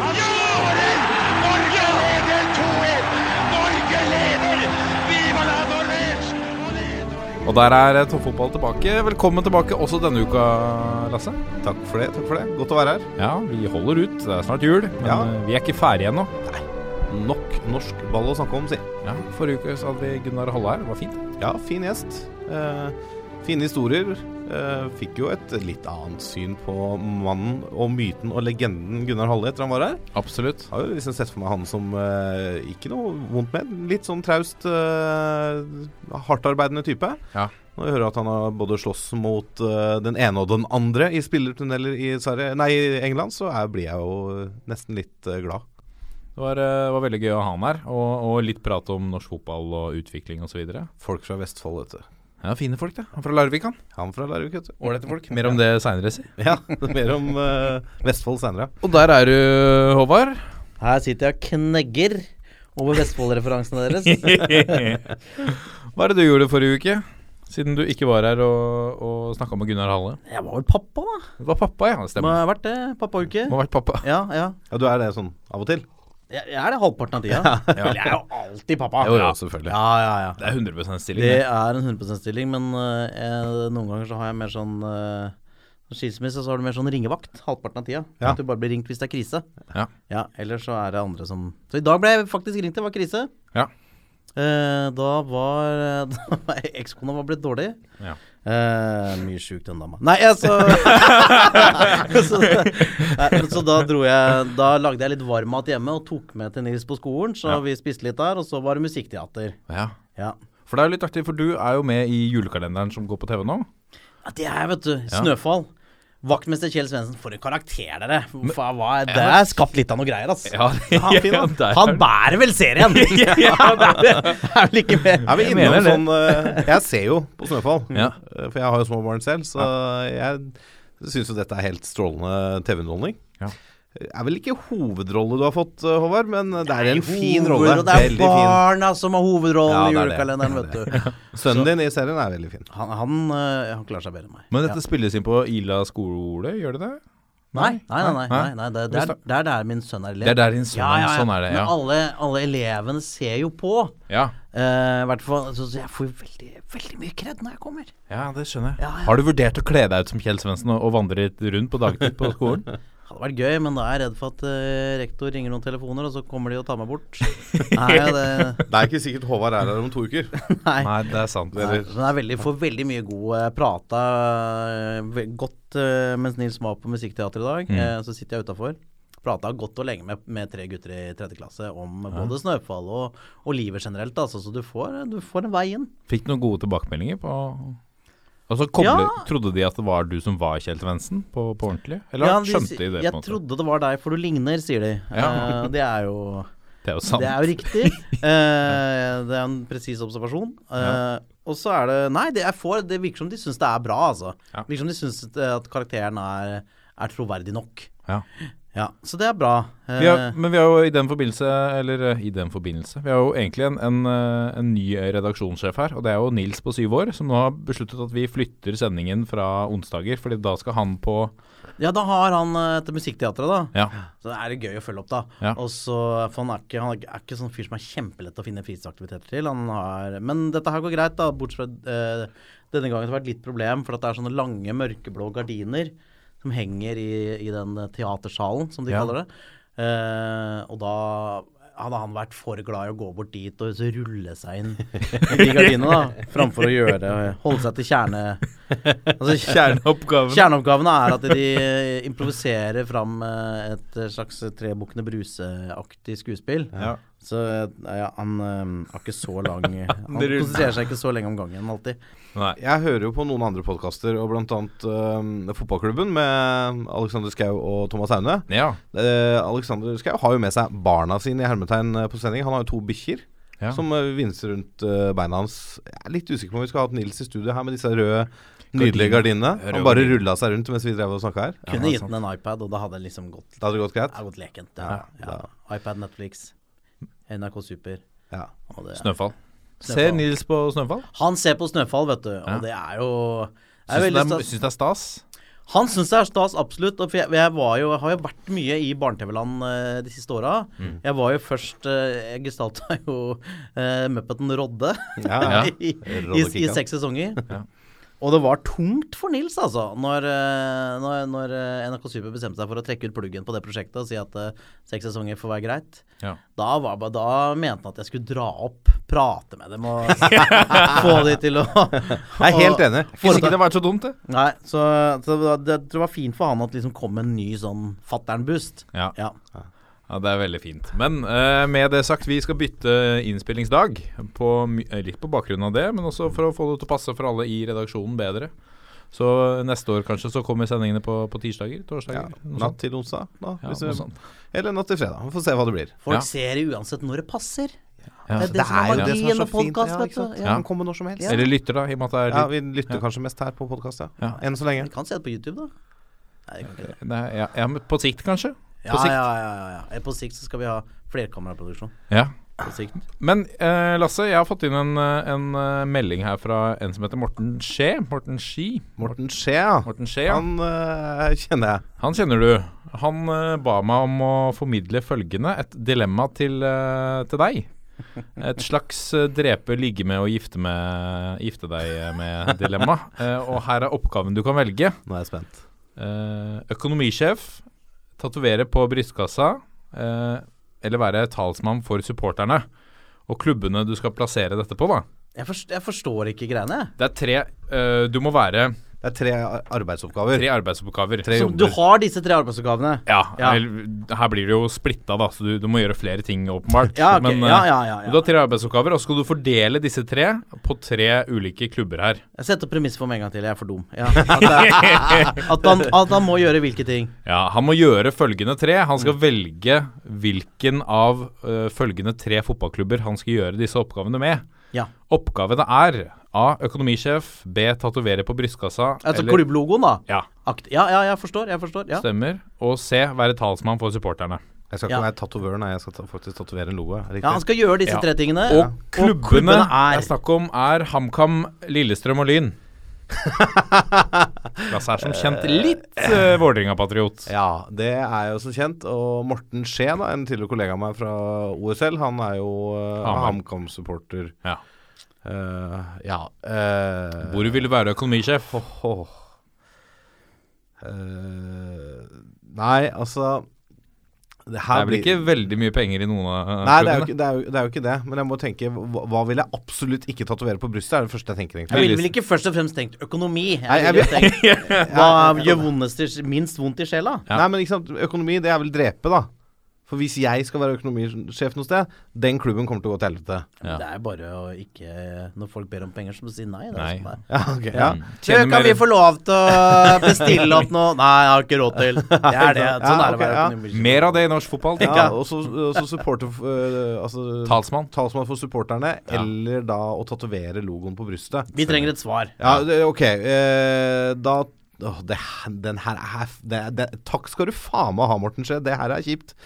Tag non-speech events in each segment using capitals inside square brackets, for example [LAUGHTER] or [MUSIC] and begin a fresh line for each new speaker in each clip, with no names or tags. Norge! Norge leder 2-1! Norge leder! Viva la Norvège!
Og der er eh, toppfotball tilbake. Velkommen tilbake også denne uka, Lasse.
Takk for det. takk for det. Godt å være her.
Ja, vi holder ut. Det er snart jul, men
Ja.
eh, vi er ikke ferdige ennå.
Nok norsk ball å snakke om, si.
Ja, forrige uke så hadde vi Gunnar Halle her. Det var fint.
Ja, fin gjest. Eh, fine historier. Eh, fikk jo et litt annet syn på mannen og myten og legenden Gunnar Halle etter han var her.
Absolutt.
Har jo liksom sett for meg han som eh, ikke noe vondt med. Litt sånn traust, eh, hardtarbeidende type.
Ja.
Når jeg hører at han har både slåss mot eh, den ene og den andre i spillertunneler i, Sverige, nei, i England, så er, blir jeg jo nesten litt eh, glad.
Det var, eh, var veldig gøy å ha han her, og, og litt prat om norsk fotball og utvikling osv. Ja,
Folk fra Vestfold, vet du.
fine folk, det. Han er fra Larvik, han.
Han fra Larvik, vet du.
Ålreite folk. Mer om det seinere, si.
[LAUGHS] Ja, mer om eh, Vestfold senere.
Og der er du, Håvard.
Her sitter jeg og knegger over Vestfold-referansene deres.
[LAUGHS] Hva er det du gjorde forrige uke? Siden du ikke var her og, og snakka med Gunnar Halle.
Jeg var vel pappa, da.
Det var pappa, ja. Det
Må
stemmer.
ha vært det. Pappauke.
Må ha vært pappa.
Ja, ja.
Ja, Du er det sånn av og til?
Jeg jeg er det halvparten av tida. [LAUGHS] Eller Jeg er jo alltid pappa.
Jo, jo, selvfølgelig.
Ja, ja, ja.
Det er 100 stilling.
Det er en 100 stilling, men øh, jeg, noen ganger så har jeg mer sånn øh, Skilsmisse, så har du mer sånn ringevakt halvparten av tida.
Ja.
At du bare blir ringt hvis det er krise.
Ja.
ja. Ellers så er det andre som Så i dag ble jeg faktisk ringt, det var krise.
Ja.
Eh, da var [LAUGHS] da var- Ekskona var blitt dårlig.
Ja.
Eh, mye sjukt den dama. Nei, altså
[LAUGHS]
[LAUGHS] så, nei, men så da dro jeg Da lagde jeg litt varmmat hjemme og tok med til Nils på skolen. Så
Ja.
vi spiste litt der, og så var det musikkteater.
Ja.
Ja.
For det er jo litt artig, for du er jo med i julekalenderen som går på TV nå.
Ja, det er, vet du. Snøfall. Vaktmester Kjell Svendsen, for en karakter, dere. Faen, hva er, det er skapt litt av noe greier, ass.
han,
Han, fin, da. han bærer vel serien!
[LAUGHS]
[LAUGHS] ja, det er, det er vel ikke mer.
Er vi
Jeg
innom
mener det.
sånn eh, Jeg ser jo på Snøfall,
Ja.
eh, for jeg har jo små barn selv, så jeg syns jo dette er helt strålende TV-underholdning.
Ja.
Det er vel ikke hovedrolle du har fått, eh, Håvard, men det er en fin
Hoved-
rolle.
og Det er
Veldig fin.
barna som har hovedrollen
Ja, det
i
er det.
julekalenderen,
Det er
vet
[LAUGHS]
du.
Sønnen din i serien er veldig fin.
Han, han, øh, han klarer seg bedre enn meg.
Men dette spilles inn på Ila skole, gjør det det?
Nei, nei, nei. nei, nei, nei det, det, er, det er der min sønn er elev.
Det er der din sønn
ja,
er,
ja, ja.
sånn er det, ja.
Men alle, alle elevene ser jo på.
Ja.
Eh, I hvert fall, så, så jeg får jo veldig, veldig mye kred når jeg kommer.
ja, det skjønner jeg.
Ja, ja.
Har du vurdert å kle deg ut som Kjell Svendsen og, og vandre litt rundt på dagtid på skolen?
hadde vært gøy, men da er jeg redd for at eh, rektor ringer noen telefoner, og så kommer de og tar meg
[LAUGHS]
bort. Nei, det,
Det er ikke sikkert Håvard er her om to uker.
nei.
Nei, det er sant.
Nei, men jeg er veldig, får veldig mye god eh, prata eh, ve- godt eh, mens Nils var på Musikkteatret i
Mm.
dag. eh, så sitter jeg utafor. Prata godt og lenge med, med tre gutter i tredje klasse om både snøfall og, og livet generelt. Altså, så du får, du får en vei inn.
Fikk du noen gode tilbakemeldinger på og så koble,
Ja.
Trodde de at det var du som var Kjell Svendsen på, på ordentlig? Eller
Ja,
skjønte de
sier-
det?
Jeg
på en måte?
trodde det var deg, for du ligner, sier de.
Ja.
Eh, det er jo
Det er jo [LAUGHS] sant.
Det er jo
[LAUGHS]
riktig. Eh, det er en presis observasjon. Eh, Og så er det Nei, det, jeg får, det virker som de syns det er bra, altså.
Ja.
Virker som de syns at, at karakteren er, er troverdig nok.
Ja.
Ja, Så det er bra. Eh,
Vi har, men vi har jo i den forbindelse Eller eh, i den forbindelse Vi har jo egentlig en, en, eh, en ny redaksjonssjef her Og det er jo Nils på syv år Som nå har besluttet at vi flytter sendingen fra onsdager Fordi da skal han på
ja, da har han eh, etter Musikkteatret, da.
Ja,
Så det er det gøy å følge opp, da.
Ja.
Og så, for Han er ikke, han er ikke- er ikke sånn fyr som er kjempelett å finne fritidsaktiviteter til. Han har, men dette her går greit, da. Bortsett fra eh, denne gangen det har vært litt problem, for at det er sånne lange mørkeblå gardiner som henger i, i den eh, teatersalen, som de
Ja.
kaller det. Eh, og da hadde han vært for glad i å gå bort dit og så rulle seg inn i de gardinene, da. Framfor å gjøre Holde seg til kjerne...
[LAUGHS]
Altså,
kjerneoppgaven
Kjerneoppgavene er at de eh, improviserer fram eh, et slags Trebukkene Bruse-aktig skuespill.
Ja.
Så eh, ja, han eh, har ikke så lang Han konsentrerer seg ikke så lenge om gangen alltid.
Nei,
[LAUGHS] Jeg hører jo på noen andre podkaster, og blant annet eh, Fotballklubben med Alexander Schou og Thomas Aune.
ja
Eh, Alexander Schou har jo med seg barna sine i hermetegn eh, på sending. Han har jo to bikkjer.
Ja.
som eh, vinser rundt eh, beina hans. Jeg er litt usikker på om vi skulle hatt Nils i studio her med disse røde, nydelige gardinene.
Røde
Han bare
gardiner.
rulla seg rundt mens vi drev og snakka her.
Kunne gitt den en iPad, og da hadde det liksom gått,
Det hadde gått
det
greit?
hadde gått lekent. Det,
Ja,
ja. iPad, Netflix, NRK Super.
Ja.
Og det,
Snøfall.
Snøfall.
Ser Nils på Snøfall?
han ser på Snøfall, vet du, og
Ja.
det er jo det er
Syns det,
veldig
er-
stas.
syns det er stas?
Han syns det er stas, absolutt. Og for jeg, jeg, var jo, jeg har jo vært mye i Barne-TV-land eh, de siste åra.
Mm.
Jeg var jo først eh, Jeg gestalta jo eh, Muppeten Rodde
Ja, ja.
[LAUGHS] i, i,
Rodde
i
Kikkan.
seks
[LAUGHS]
sesonger.
Ja.
Og det var tungt for Nils, altså, når, eh, når, når eh, NRK Super bestemte seg for å trekke ut pluggen på det prosjektet og si at eh, seks sesonger får være greit.
Ja.
Da, var, ba- da mente han at jeg skulle dra opp, prate med dem
[LAUGHS]
og få de til å [LAUGHS]
Jeg er helt enig.
Ikke sikkert det var så dumt, det.
Nei, så, så det, var- det, jeg tror det var fint for han at liksom kom en ny sånn fattern-boost.
Ja.
Ja.
Ja, Det er veldig fint. Men eh, med det sagt, vi skal bytte innspillingsdag. På, my- eh, litt på bakgrunn av det, men også for å få det til å passe for alle i redaksjonen bedre. Så eh, neste år kanskje så kommer sendingene på, på tirsdager?
Ja,
Torsdager? noe
natt
sånt.
til onsdag, da.
Ja,
hvis
noe
vi-
sånt.
Eller natt til fredag. Vi får se hva det blir.
Folk
Ja.
ser det uansett når det passer.
Ja.
Det er det, som er
jo
magi i en podkast,
Ja,
vet
ikke sant?
du.
Ja.
Ja.
Den kommer når som helst.
Ja.
Eller lytter, da. I og med at det
Ja,
er litt,
vi lytter kanskje mest her på podkast, ja.
Ja.
Enn så lenge.
Vi kan se det på YouTube, da. Nei, det kan ikke det.
nei, ja, ja, men På sikt, kanskje? På
Ja,
sikt.
ja, ja, ja, ja. På sikt så skal vi ha flerkameraproduksjon.
Ja.
På sikt.
Men eh, Lasse, jeg har fått inn en, eh, en eh, melding her fra en som heter Morten Skje. Morten Ski.
Morten Skje, ja.
Morten Skje, ja.
Han øh, kjenner jeg.
Han kjenner du. Han eh, ba meg om å formidle følgende, et dilemma til, eh, til deg. Et slags eh, drepe, ligge med og gifte, med, gifte deg med-dilemma. og her er oppgaven du kan velge.
Nå er jeg spent.
Eh, økonomisjef, tatovere på brystkassa, eh, eller være talsmann for supporterne. Og klubbene du skal plassere dette på, da.
Jeg, forst, jeg forstår ikke greiene, jeg.
Det er tre eh, Du må være
Det er tre ar- arbeidsoppgaver.
tre arbeidsoppgaver. Tre
Som du har disse tre arbeidsoppgavene.
Ja,
Ja.
vel, her blir det jo splitta, da, så du, du må gjøre flere ting, åpenbart.
Ja, ok.
eh,
Ja, ja, ja, ja.
Du har tre arbeidsoppgaver, og så skal du fordele disse tre på tre ulike klubber her.
Jeg setter premisset for meg en gang til. Jeg er for dum. Ja. At, det, at, han, at han må gjøre hvilke ting.
Ja, Han må gjøre følgende tre. Han
Mm.
skal velge hvilken av eh, følgende tre fotballklubber han skal gjøre disse oppgavene med.
Ja.
Oppgavene er A. Økonomisjef. B. Tatovere på brystkassa.
Altså
eller-
klubblogoen, da.
Ja,
Akt, ja, ja, jeg forstår. Jeg forstår. Ja.
stemmer. Og C. Være talsmann for supporterne.
Jeg skal ikke
Ja.
være tatovør, nei. Jeg skal ta, faktisk tatovere en logo. er det
ja,
Riktig.
han skal gjøre disse
Ja.
tre tingene.
Og klubbene,
klubbene er-
det er snakk om, er HamKam, Lillestrøm og Lyn. [LAUGHS] Lasse er som kjent litt uh, Vålerenga-patriot.
Ja, det er jo som kjent. Og Morten Skje, da, en tidligere kollega av meg fra OSL, han er jo øh,
Hamar.
HamKam-supporter.
Ja.
Eh, ja eh,
Hvor vil du være økonomisjef?
Åh. Eh, nei, altså Det
Det
her
er vel ikke veldig mye penger i noen av
Nei, det er, jo
klubbene?
ikke, det, er jo, det er jo ikke det. Men jeg må tenke hva, hva vil jeg absolutt ikke tatovere på brystet? er det første jeg tenker egentlig
Jeg ville vel ikke først og fremst tenkt økonomi.
Nei,
Jeg
jeg
ville
[LAUGHS]
jo tenkt hva gjør vondest i, minst vondt i sjela?
Ja.
Nei, men ikke sant, Økonomi, det er vel drepe, da. For hvis jeg skal være økonomisjef noe sted, den klubben kommer til å gå til helvete.
Ja.
Det er bare å ikke Når folk ber om penger, så må du si nei. Det er
Nei.
sånn det er.
Ja, ok. Ja.
Mm.
Du,
Tjener
kan
mer-
vi få lov til å bestille opp noe? Nei, jeg har ikke råd til. Det er det.
Ja,
Sånn er det å
ok,
være
ja.
økonomisk.
Mer av det i norsk fotball, tenker
Ja,
jeg.
og så og så supporter øh, Altså
Talsmann.
talsmann for supporterne, eller da å tatovere logoen på brystet.
Vi trenger et svar.
Ja, det, ok. eh, da åh, det, her- Den her er det, det, Takk skal du faen meg ha, Morten Skje. Det her er kjipt.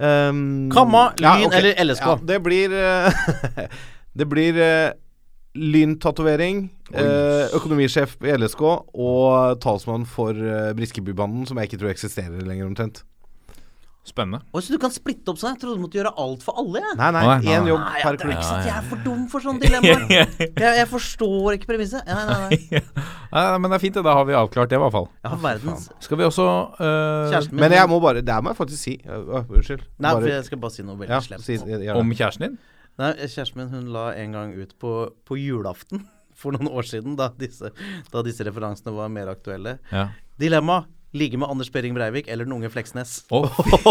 Um,
Kamma, Lyn
ok.
eller LSK?
Ja, det blir eh, [LAUGHS] Det blir uh, lyntatovering, eh, økonomisjef i LSK og talsmann for eh, Briskebybanden, som jeg ikke tror eksisterer lenger, omtrent.
Spennende. [LAUGHS]
Oi, så du kan splitte opp sånn? Jeg trodde du måtte gjøre alt for alle, jeg.
Nei, nei,
Nei, nei,
én
nei.
jobb
Nei,
per
jeg,
klubb.
ikke sant? jeg er for dum for sånne dilemmaer. Jeg, jeg forstår ikke premisset. Nei, nei, nei. [LAUGHS]
Nei, nei, men det er fint, det. Da har vi avklart det, i hvert fall.
Jeg har verdens
Skal vi også eh,
Kjæresten min
Men jeg må bare Det her må jeg faktisk si. Øh, øh, unnskyld.
Nei, for
bare,
jeg skal bare si noe veldig
ja,
slemt.
si, gjør det.
om kjæresten din?
Nei, kjæresten min hun la en gang ut på, på [LAUGHS] [LAUGHS] julaften for noen år siden, da disse, da disse referansene var mer aktuelle.
Ja.
Dilemma Ligge med Anders Behring Breivik eller den unge Fleksnes.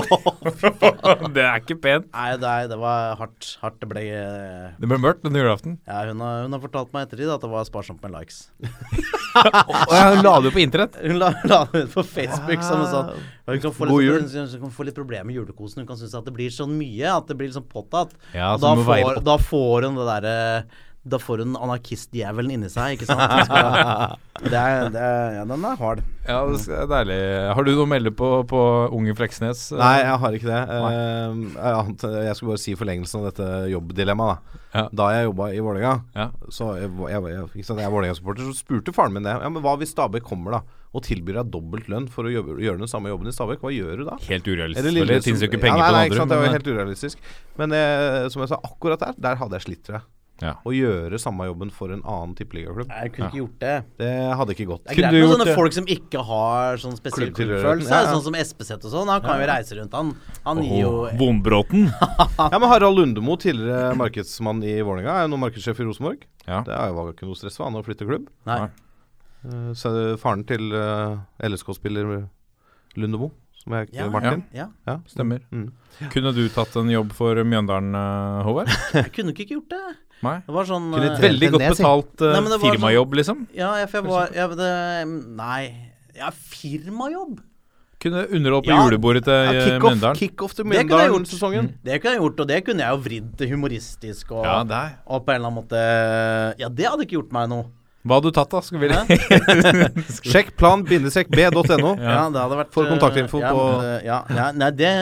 [LAUGHS] det er ikke pent.
Nei, nei, det var hardt. hardt det ble eh,
Det ble mørkt denne julaften.
ja, hun, har, hun har fortalt meg ettertid at det var sparsomt med likes.
Og jeg la det jo på internett.
Hun la, la det ut på Facebook som en sånn og Hun kan få
God
litt,
jul.
hun synes hun kan få litt problemer med julekosen. Hun kan synes at det blir sånn mye, at det blir litt sånn påtatt.
Ja,
Og
så
da,
du må veie det
får,
opp.
da får hun det derre Da får hun anarkistdjevelen inni seg, ikke sant? Hun skal- [LAUGHS] Det er, det er, ja, den er hard.
Ja, det er deilig. Har du noe å melde på, på unge Fleksnes?
Nei, jeg har ikke det. Eh, jeg ant- jeg skulle bare si i forlengelsen av dette jobbdilemmaet. Da.
Ja.
da jeg jobba i Vålerenga,
Ja.
så jeg, jeg, jeg, ikke sant, jeg er Vålerenga-supporter, så spurte faren min det. Ja, men hva hvis Stabæk kommer da og tilbyr deg dobbelt lønn for å jobbe, gjøre den samme jobben i Stabæk? Hva gjør du da?
Helt urealistisk.
Eller
selvfølgelig.
Lillestrøm-
Det finnes jo ikke
Ja,
penger
nei,
på
nei,
den
ikke sant,
andre.
Det var
men-
helt urealistisk. Men eh, som jeg sa, akkurat der, der hadde jeg slitt, tror jeg.
Ja.
Å gjøre samme jobben for en annen tippeligaklubb.
Jeg kunne ikke gjort det.
Det hadde ikke gått.
Det er greit med sånne folk som ikke har sånn spesiell
Klubbtilhørighet.
klubbfølelse,
Ja, ja.
sånn som Espeseth og sånn. Han kan jo reise rundt, han. Han gir jo
eh.
Åh,
[LAUGHS]
Vombråten.
Ja, men Harald Lundemo, tidligere markedsmann i Vålerenga, er jo nå markedssjef i Rosenborg.
Ja.
Det er jo- var ikke noe stress for han å flytte klubb.
Nei.
Eh, Så er det faren til eh, LSK-spiller Lundemo, som er
Ja.
Martin.
Ja.
Ja.
Stemmer.
Mm.
Kunne du tatt en jobb for Mjøndalen, eh, Håvard?
Jeg kunne ikke gjort det.
Nei.
Det var sånn
Kunne
eh,
tre-
Veldig godt
det jeg
betalt eh,
Nei, men det var
firmajobb, liksom.
Ja, ja, for jeg var ja, men det, Nei. Ja, firmajobb.
Kunne underholdt på
Ja.
julebordet til
Ja,
eh,
Kickoff
Mjøndalen.
kick til
Det kunne jeg gjort.
Mjøndalen-sesongen.
Det kunne jeg gjort, og det kunne jeg jo vridd til humoristisk og,
Ja, der.
og på en eller annen måte Ja, det hadde ikke gjort meg noe.
Hva hadde du tatt, da? Skal vi
Hæ?
Sjekk plan-b.no.
[LAUGHS] Ja, det hadde vært
For
eh,
kontaktinfo
ja,
på-
men, eh, ja, ja, Nei, det,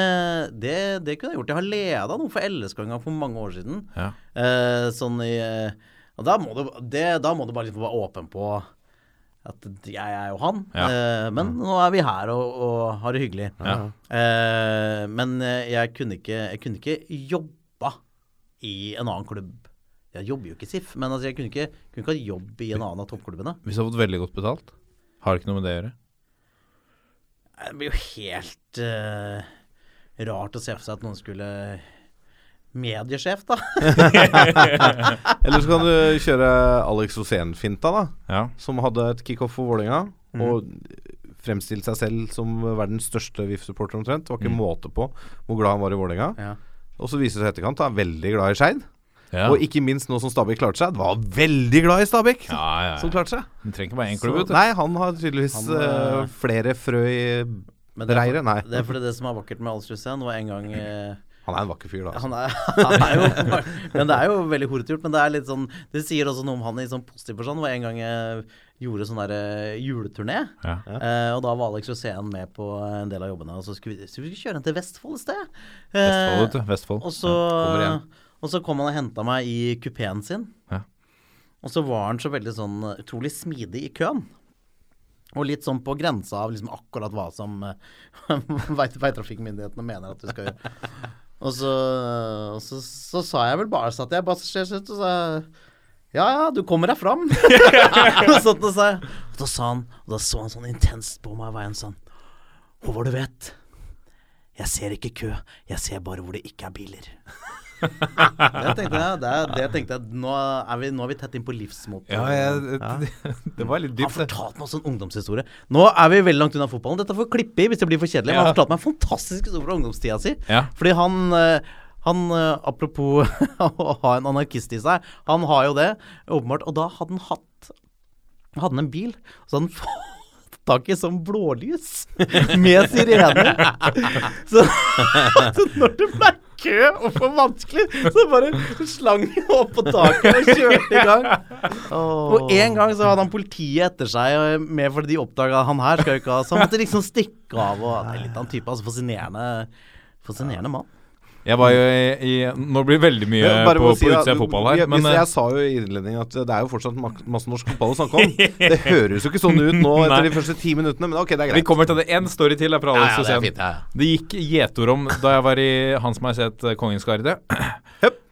det, det kunne jeg gjort. Jeg har leda noe for LSK en gang for mange år siden.
[LAUGHS] Ja.
Eh, sånn i eh, Og da må du, det, da må du bare liksom være åpen på at jeg er jo han.
Ja. Mm.
Eh, men nå er vi her og, og har det hyggelig.
Ja.
Eh, men eh, jeg kunne ikke, jeg kunne ikke jobba i en annen klubb. Jeg jobber jo ikke i SIF, men altså, jeg kunne ikke, kunne ikke ha jobb i en annen av toppklubbene.
Hvis du har fått veldig godt betalt? Har ikke noe med det å gjøre.
Eh, Det blir jo helt eh, rart å se for seg at noen skulle Mediesjef, da. [LAUGHS]
Eller så kan du kjøre Alex Osen-finta, da.
Ja.
Som hadde et kickoff for Vålerenga. Og fremstilte seg selv som verdens største VIF-supporter omtrent. Det var ikke måte på hvor glad han var i Vålerenga.
Ja.
Og så viser det seg i etterkant at han er veldig glad i Skeid.
Ja.
Og ikke minst nå som Stabæk klarte seg. Han var veldig glad i Stabæk,
ja, ja,
som
ja.
klarte seg.
Du trenger ikke bare én
Så,
klubb, vet du.
nei, han har tydeligreivis
Han,
eh, flere frø i
Men det er
reiret. Nei,
Det er fordi det som er vakkert med Alstrusén, var en gang eh,
han er en vakker fyr, da. Altså.
han, er, [LAUGHS] han er jo [LAUGHS] Men det er jo veldig horete gjort. Men det er litt sånn Det sier også noe om han i sånn positiv forstand. Var en gang jeg gjorde sånn der eh, juleturné.
Ja.
Eh, og da var Alex Rosén med på en del av jobbene. Og så skulle vi, så vi skulle kjøre den til Vestfold et sted. Eh,
Vestfold, vet du. Vestfold.
Og så, og så kom han og henta meg i kupeen sin.
Ja.
Og så var han så veldig sånn utrolig smidig i køen. Og litt sånn på grensa av liksom akkurat hva som eh, [LAUGHS] vei- veitrafikkmyndighetene mener at du skal gjøre. Og så, og så, så sa jeg vel bare satt jeg bare ut og sa Ja, ja, du kommer deg fram. og sånn, og, sa, jeg- og da sa han, og da så han sånn intenst på meg i veien sånn Håvard, du vet. Jeg ser ikke kø, jeg ser bare hvor det ikke er biler. det tenkte jeg, det, er- det tenkte jeg nå, er vi, nå er vi tett inn på livsmotet.
Ja, jeg, det var litt
Han
dypt, det.
fortalte meg også en ungdomshistorie. Nå er vi veldig langt unna fotballen. Dette får vi klippe i hvis det blir for kjedelig. Men han
Ja.
fortalte meg en fantastisk historie fra ungdomstida si.
Ja.
Fordi han, eh, han eh, Apropos [LAUGHS] å ha en anarkist i seg. Han har jo det, åpenbart. Og da hadde han hatt Hadde han en bil, så hadde han [LAUGHS] fått tak i sånn blålys med
[LAUGHS]
sirener. Så, så når det ble kø og for vanskelig, så bare slang han opp på taket og kjørte i gang. Og en gang så hadde han politiet etter seg, og med fordi de oppdaga han her skal jo ikke ha Så han måtte liksom stikke av. Og det er litt av en type altså fascinerende Fascinerende mann.
Jeg var jo i, i Nå blir det veldig mye
Bare
på,
må si
på
at-
utsida av fotball her,
hvis
men eh,
jeg sa jo i innledningen at det er jo fortsatt mak- masse norsk fotball å snakke om.
[LAUGHS]
Det høres jo ikke sånn ut nå
Nei.
etter de første ti minuttene, men ok, det er
vi
greit.
kommer til det. Én story til er fra Alex
Ja, ja, det er
Osen.
fint, ja, ja.
Det gikk gjetord om da jeg var i Hans Majestet eh, Kongens Garde.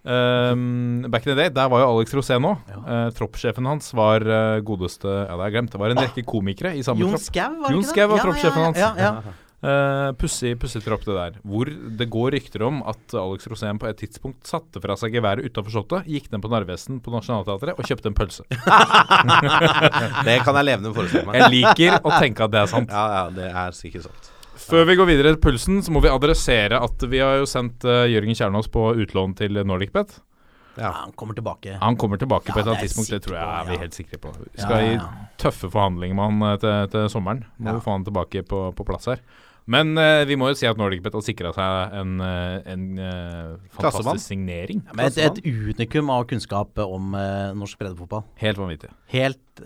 Ehm, back in the day, der var jo Alex Rosén òg. troppssjefen hans var eh, godeste Ja, det har jeg glemt. Det var en rekke komikere i samme
Jon
tropp.
Skau, var det
Jon
ikke det?
Skau var
Ja,
troppssjefen
ja,
hans.
Ja, ja.
Eh, Pussig pussig tropp, det der. Hvor det går rykter om at Alex Rosén på et tidspunkt satte fra seg geværet utafor Slottet, gikk ned på Narvesen på Nationaltheatret og kjøpte en pølse.
Det kan jeg levende forestille meg.
Jeg liker å tenke at det er sant.
[LAUGHS] Ja, ja, det er sikkert sant.
Før vi går videre til pulsen, så må vi adressere at vi har jo sendt eh, Jørgen Kjernås på utlån til NordicBet.
Ja, han kommer tilbake.
Han kommer tilbake på et
det
eller
er
annet
jeg
tidspunkt, det tror jeg
sikker på,
er vi
ja.
helt sikre på. Vi
Ja,
skal
ja,
i
ja.
tøffe forhandlinger med han eh, til, til sommeren. Må jo få han tilbake på, på plass her. Men eh, vi må jo si at NordicBet har sikra seg en, eh, en eh,
Klassemann.
fantastisk signering.
Ja, men et, et unikum av kunnskap om eh, norsk breddefotball.
Helt vanvittig.
Helt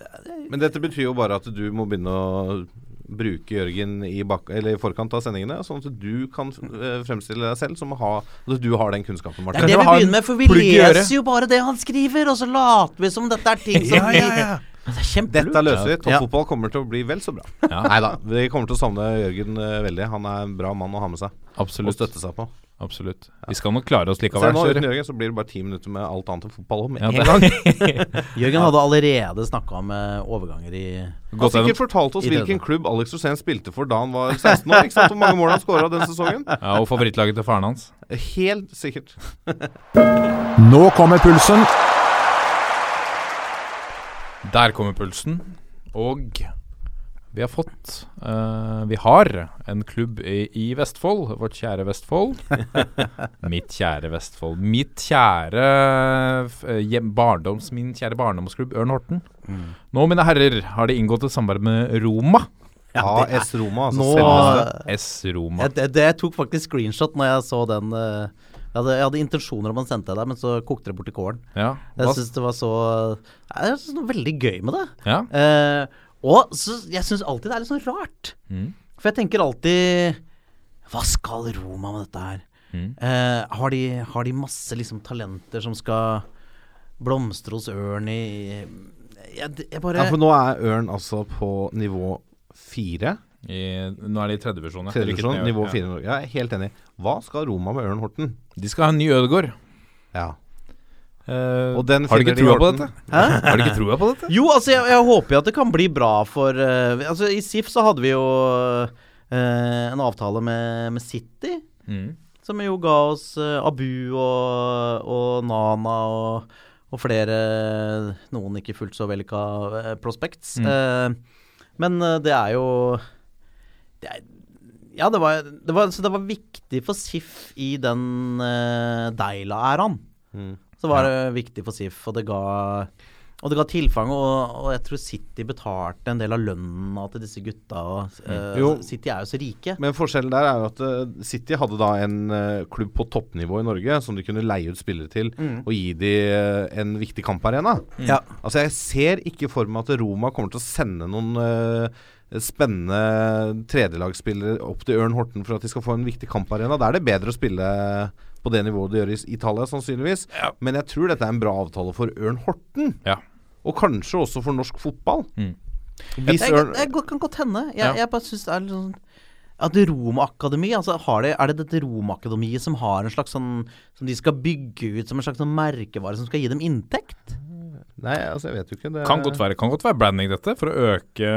Men dette betyr jo bare at du må begynne å bruke Jørgen i, bak eller i forkant av sendingene, sånn at du kan eh, fremstille deg selv som å ha At du har den kunnskapen,
Det er
Martin.
Kanskje
det vi
ha en
begynner med, for vi
plugg i øret.
leser jo bare det han skriver, og så later vi som dette er ting som
[LAUGHS] Ja, ja, ja.
vi Det er kjempelurt.
Dette løser vi.
Ja.
Toppfotball kommer til å bli vel så bra. [LAUGHS]
Ja.
Nei da. Vi kommer til å savne Jørgen eh, veldig. Han er en bra mann å ha med seg og
Absolutt.
støtte seg på.
Absolutt. Vi skal nok klare oss
Se
likevel.
nå,
Sjur.
uten Jørgen så blir det bare ti minutter med alt annet enn fotball om
Ja,
en
det-
[LAUGHS]
gang.
Jørgen hadde allerede snakka om eh, overganger i
Han
Gått
har
gjennom-
sikkert fortalt oss
I
hvilken
denne.
klubb Alex Rosén spilte for da han var 16 år. Ikke sant? Hvor mange mål han skåra den sesongen?
[LAUGHS] ja, og favorittlaget til faren hans.
Helt sikkert.
Nå kommer pulsen.
Der kommer pulsen. Og vi har fått eh, Vi har en klubb i, i Vestfold. Vårt kjære Vestfold. mitt kjære Vestfold. Mitt kjære eh, hjem, barndoms, Min kjære barndomsklubb Ørn Horten. Nå, mine herrer, har de inngått et samarbeid med Roma.
AS Roma, altså
Nå-
selveste.
S Roma.
jeg, det, det, jeg tok faktisk screenshot når jeg så den. eh, jeg, hadde, jeg hadde intensjoner om å sende til deg, men så kokte det bort i kålen.
Ja, hva-
Jeg syns det var så Jeg synes det var veldig gøy med det.
ja.
Eh, og så, jeg syns alltid det er litt sånn rart. For jeg tenker alltid Hva skal Roma med dette her? Eh, har, de, har de masse liksom talenter som skal blomstre hos Ørn i jeg, d- jeg bare
Ja, for nå er Ørn altså på nivå fire.
I, nå er de i tredje divisjon. ja.
Tredje
Rykket
divisjon,
ned,
nivå
ja.
fire i Norge. Jeg er helt enig. Hva skal Roma med Ørn Horten?
De skal ha en ny Ødegaard.
Ja.
Eh,
Og den
har de
finner
ikke
de i
trua på
Horten.
dette? Har de ikke trua på
[LAUGHS]
dette?
Jo, altså, jeg, jeg håper jo at det kan bli bra for eh, Altså, i SIF så hadde vi jo eh, en avtale med, med City,
Mm.
som jo ga oss eh, Abu og, og Nana og, og flere Noen ikke fullt så vellykka eh, prospects. Eh, men eh, det er jo det er, Ja, det var, det, var, så det var viktig for SIF i den eh, Deila-æraen. Så var det viktig for SIF, og det ga og det ga tilfang, og, og jeg tror City betalte en del av lønna til disse gutta. Og, eh,
Jo.
City er jo så rike.
Men forskjellen der er jo at eh, City hadde da en eh, klubb på toppnivå i Norge som de kunne leie ut spillere til
Mm.
og gi de eh, en viktig kamparena.
Ja.
Altså jeg ser ikke for meg at Roma kommer til å sende noen eh, spennende tredjelagsspillere opp til Ørn Horten for at de skal få en viktig kamparena. Da er det bedre å spille på det nivået de gjør i s- Italia, sannsynligvis. Men jeg tror dette er en bra avtale for Ørn Horten,
Ja.
og kanskje også for norsk fotball.
Mm.
Hvis
Jeg,
Ørn
jeg, jeg kan godt hende. Jeg,
Ja.
jeg bare syns det er litt sånn at Romakademi, altså har det, Er det dette Romakademiet som har en slags sånn Som de skal bygge ut som en slags sånn merkevare som skal gi dem inntekt?
Nei, altså jeg vet jo ikke. Det
Kan godt være, kan godt være branding dette, for å øke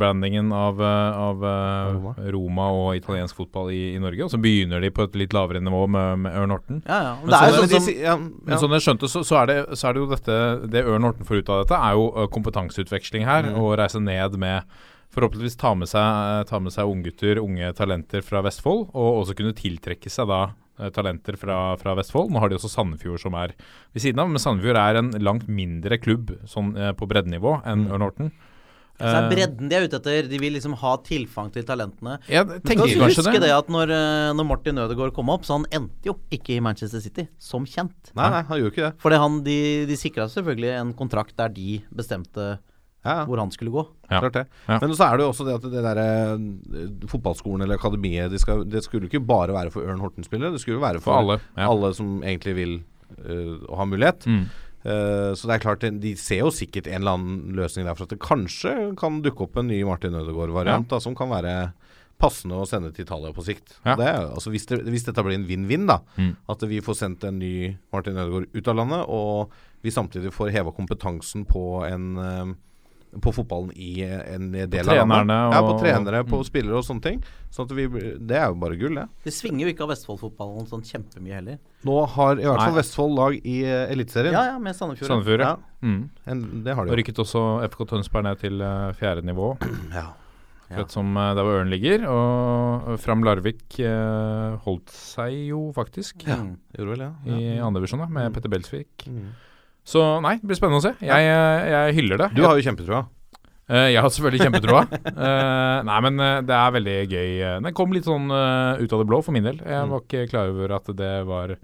brandingen av, eh, av eh,
Roma.
Roma og italiensk fotball i, i Norge. Og så begynner de på et litt lavere nivå med, med Ørn Horten.
Ja, ja.
Men
Men det er
sånn er
jo sånn
det de
som
sier.
Ja,
Men sånn jeg skjønte, så, så, er det, så er det jo dette Det Ørn Horten får ut av dette, er jo eh, kompetanseutveksling her. Og reise ned med Forhåpentligvis ta med seg, ta med seg unggutter, unge talenter fra Vestfold. Og også kunne tiltrekke seg da eh, talenter fra, fra Vestfold. Nå har de også Sandefjord som er ved siden av, men Sandefjord er en langt mindre klubb sånn eh, på breddenivå enn Ørn Horten.
så
Eh.
er bredden de er ute etter. De vil liksom ha tilfang til talentene.
Jeg
Du
tenker
skal
kanskje
huske
det.
det at når, eh, når Martin Ødegaard kom opp, så han endte jo ikke i Manchester City, som kjent.
Nei, nei, han gjorde ikke det.
Fordi han, de, de sikra selvfølgelig en kontrakt der de bestemte
Ja, ja.
hvor han skulle gå.
Ja.
Klart det.
Ja.
Men så er det jo også det at det der eh, fotballskolen eller akademiet Det skal- det skulle ikke bare være for Ørn Horten-spillere, det skulle jo være for,
For alle, ja. Mm.
alle som egentlig vil eh, og har mulighet. Eh, så det er klart, de ser jo sikkert en eller annen løsning der for at det kanskje kan dukke opp en ny Martin Ødegaard-variant da, som kan være passende å sende til Italia på sikt.
Ja. Mm.
Det, er jo- altså hvis, det, hvis dette blir en vinn-vinn, da, at vi får sendt en ny Martin Ødegaard ut av landet, og vi samtidig får heva kompetansen på en eh, på fotballen i en del av
trenerne
landet. Ja, på
og- Mm.
trenere, på spillere og sånne ting. Sånn at vi, det er jo bare gull, det.
Det svinger jo ikke av Vestfold-fotballen sånn kjempemye heller.
Nå har i hvert fall
Nei.
Vestfold lag i eh, Eliteserien.
Ja, ja, med Sandefjord. ja.
Sandefjord, ja.
Ja.
Mm.
En- Det har
Og
de jo.
rykket også FK Tønsberg ned til eh, fjerde nivå.
Ja.
Akkurat som eh, der hvor Ørn ligger. Og eh, Fram Larvik eh, holdt seg jo faktisk
Mm.
Gjorde vel, ja. ja.
i andre divisjon, da, med Petter Belsvik.
Mm.
Så nei, det blir spennende å se. Jeg, eh, jeg hyller det.
Du har jo kjempetrua.
Eh, jeg har selvfølgelig kjempetroa. [LAUGHS] Eh, nei, men eh, det er veldig gøy. Eh, Den kom litt sånn eh, ut av det blå for min del.
Mm.
Jeg var ikke klar over at det var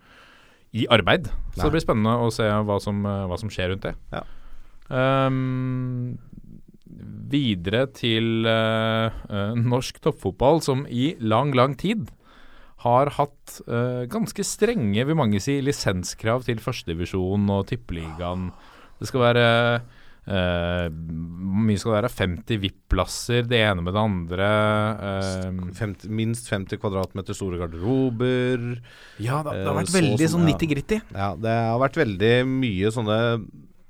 i arbeid. Så
Nei.
det blir spennende å se hva som, eh, hva som skjer rundt det.
Ja.
Ehm, videre til eh, eh, norsk toppfotball, som i lang, lang tid har hatt eh, ganske strenge, vil mange si, lisenskrav til førstedivisjon og tippeligaen. Det skal være eh, Hvor mye skal det være? 50 VIP-plasser, det ene med det andre. eh,
Femt- minst 50 kvadratmeter store garderober.
ja, det, det har
eh,
vært
så
veldig
sånn,
sånn
ja.
90-gritty.
Ja, det har vært veldig mye sånne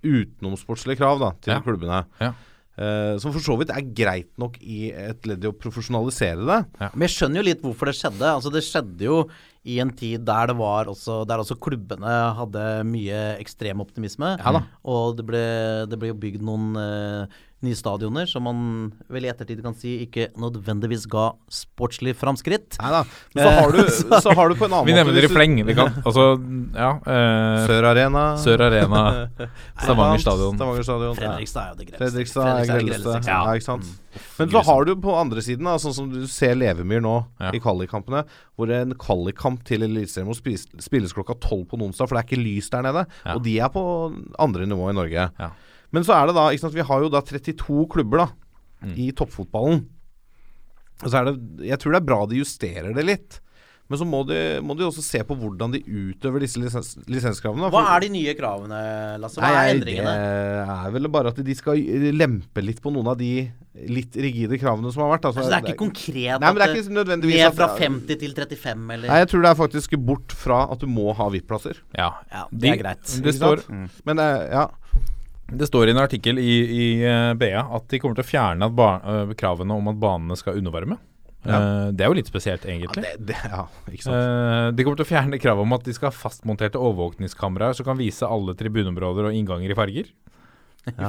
utenomsportslige krav da, til
Ja.
klubbene.
Ja.
Eh, som for så vidt er greit nok i et ledd i å profesjonalisere det.
Men jeg skjønner jo litt hvorfor det skjedde. Altså Det skjedde jo i en tid der det var også Der også klubbene hadde mye ekstrem optimisme. Og det ble, det ble jo bygd noen eh, nye stadioner som man vel i ettertid kan si ikke nødvendigvis ga sportslig framskritt.
Nei da. Men så
[LAUGHS]
har, du, så har du på en annen
Eh, Vi
måte
nevner det i
hvis du-
fleng. Vi
[LAUGHS]
kan altså Ja. eh,
Sør Arena.
Sør
[LAUGHS]
Arena, Stavanger stadion.
Stavanger stadion. ja.
Fredrikstad er jo det grelleste.
Fredrikstad er
det
grelleste.
grelleste.
Ja.
Ja. Mm.
ikke sant? Men så har du på andre siden, da, sånn som du ser Levemyr nå
Ja.
i kvalikkampene, hvor en kvalikkamp til Eliteserien må spis- spilles klokka tolv på en onsdag, for det er ikke lys der nede.
Ja.
Og de er på andre nivå i Norge.
Ja.
Men så er det da ikke sant, Vi har jo da 32 klubber da
Mm.
i toppfotballen. Og så er det Jeg tror det er bra de justerer det litt. Men så må de, må de også se på hvordan de utøver disse lisens, lisenskravene.
Hva er de nye kravene, Lasse? Hva er endringene?
Det er vel bare at de skal lempe litt på noen av de litt rigide kravene som har vært. Altså,
Altså, det er ikke konkret
Nei, men det
at
er ikke nødvendigvis
ned
at-
fra 50 til 35, eller
Nei, jeg tror det er faktisk bort fra at du må ha VIP-plasser.
ja.
Ja, det er greit.
Det
Ikke
står, Mm.
sant? Mm. Men eh, ja.
det står i en artikkel i, i eh, BA at de kommer til å fjerne at ba eh, kravene om at banene skal undervarme. Eh, det er jo litt spesielt,
Ja,
egentlig.
det, det, ja, ikke sant.
Eh, de kommer til å fjerne kravet om at de skal ha fastmonterte overvåkningskameraer som kan vise alle tribuneområder og innganger i farger.
Ja,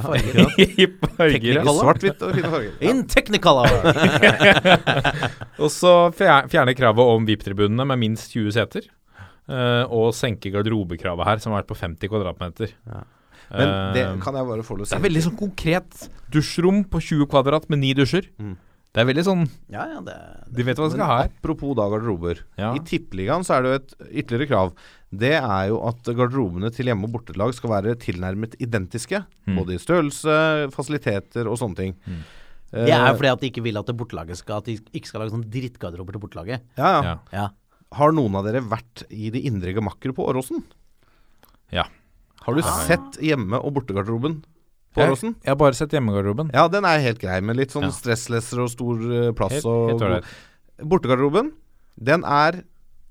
[LAUGHS] I farger,
I
ja.
svart-hvitt og fine farger.
Eh,
Ja.
In technicolor!
Og så fjer- fjerne kravet om VIP-tribunene med minst 20 seter. eh, og senke garderobekravet her, som har vært på 50 kvadratmeter.
Men det
Eh,
kan jeg bare få lov
Det er
til å si.
veldig sånn konkret. Dusjrom på 20 kvadrat med ni dusjer.
Mm.
Det er veldig sånn
[LAUGHS] ja, ja, det,
De vet hva de skal ha her.
Apropos da garderober.
Ja.
I Tippeligaen så er det jo et ytterligere krav. Det er jo at garderobene til hjemme- og bortelag skal være tilnærmet identiske.
Mm.
Både i størrelse, fasiliteter og sånne ting. Eh,
det er jo fordi at de ikke vil at det bortelaget skal At de ikke skal lage sånn drittgarderober til bortelaget.
Ja, ja.
Ja.
Ja.
Har noen av dere vært i de indre gemakker på Åråsen?
ja.
Har du sett hjemme- og bortegarderoben på
Ah, Jeg,
Åråsen?
jeg har bare sett hjemmegarderoben.
Ja, den er helt grei, med litt sånn
Ja.
stressleser og stor eh, plass.
Helt-
og
helt ålreit.
god- Bortegarderoben, den er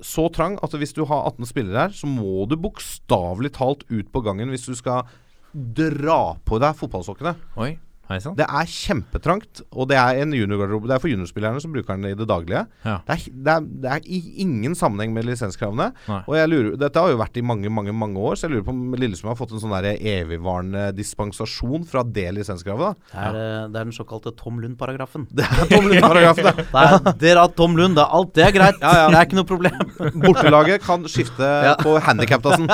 så trang at hvis du har 18 spillere her, så må du bokstavelig talt ut på gangen hvis du skal dra på deg fotballsokkene.
Oi, hei sann.
Det er kjempetrangt, og det er en juniorgarderobe. Det er for juniorspillerne som bruker den i det daglige.
Ja.
Det, er, det, er, det er i ingen sammenheng med lisenskravene.
Nei.
Og jeg lurer, Dette har jo vært i mange mange, mange år, så jeg lurer på om Lillesund har fått en sånn der evigvarende dispensasjon fra det lisenskravet.
[LAUGHS]
da.
Det, er, eh, det er den såkalte Tom [LAUGHS] Lund-paragrafen.
Det er Tom Lund-paragrafen, det.
[LAUGHS] Det er, dere har Tom Lund, det er alt det er greit. Det er ikke noe problem.
Bortelaget kan skifte på [LAUGHS] handikapdassen.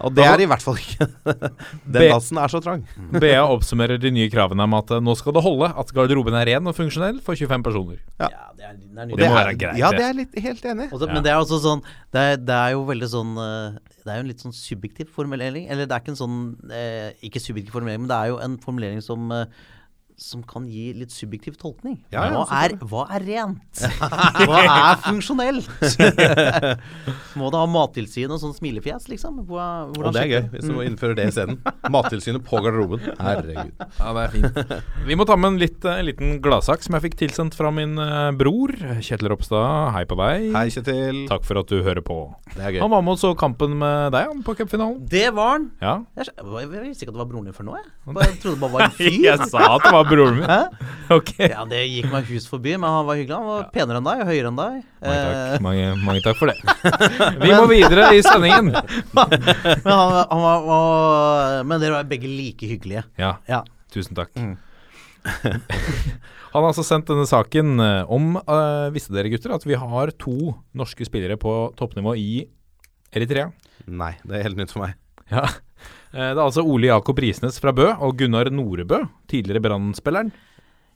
Og det er i hvert fall ikke [LAUGHS] Den
Be-
dassen er så trang.
BA oppsummerer de nye kravene med at eh, nå skal det holde at garderoben er ren og funksjonell for 25 personer.
Ja.
Ja, det er, det er
det
nydelig.
må
er-
være greit,
Ja,
det.
det er jeg litt helt enig. i.
Også, Men det er også sånn det er, det er jo veldig sånn eh, Det er jo en litt sånn subjektiv formulering. Eller det er ikke en sånn eh, Ikke subjektiv formulering, men det er jo en formulering som eh, som kan gi litt subjektiv tolkning.
Ja, ja,
hva, er, hva er rent? [LAUGHS] Hva er funksjonelt? [LAUGHS] Må det ha mattilsyn og sånn smilefjes, liksom? Hva,
Og
hvordan
det er gøy, Mm.
sjekker-
hvis du innfører det isteden. Mattilsynet på garderoben. Herregud.
Ja, det er fint. [LAUGHS] Vi må ta med en, litt, eh, en liten gladsak som jeg fikk tilsendt fra min eh, bror. Kjetil Ropstad, hei på deg.
Hei, Kjetil.
Takk for at du hører på.
Det er gøy.
Han var med og så kampen med deg han, på cupfinalen.
Det var han!
[LAUGHS]
Ja.
Jeg, sj- jeg visste ikke at det var broren din før nå, jeg. Bare, jeg trodde det bare var en fyr.
Jeg sa at det var broren min. [LAUGHS] Ok.
Ja, det gikk meg hus forbi, men han var hyggelig. Han var penere enn deg og høyere enn deg.
Mange takk,
Eh,
mange, mange takk for det. Vi må videre i sendingen.
men, han, var- han var, var, men dere var begge like hyggelige.
Ja,
Ja.
tusen takk. Han har altså sendt denne saken eh, om eh, Visste dere, gutter, at vi har to norske spillere på toppnivå i Eritrea?
Nei, det er helt nytt for meg.
Ja. Eh, Det er altså Ole Jakob Risnes fra Bø og Gunnar Norebø, tidligere Brann-spilleren.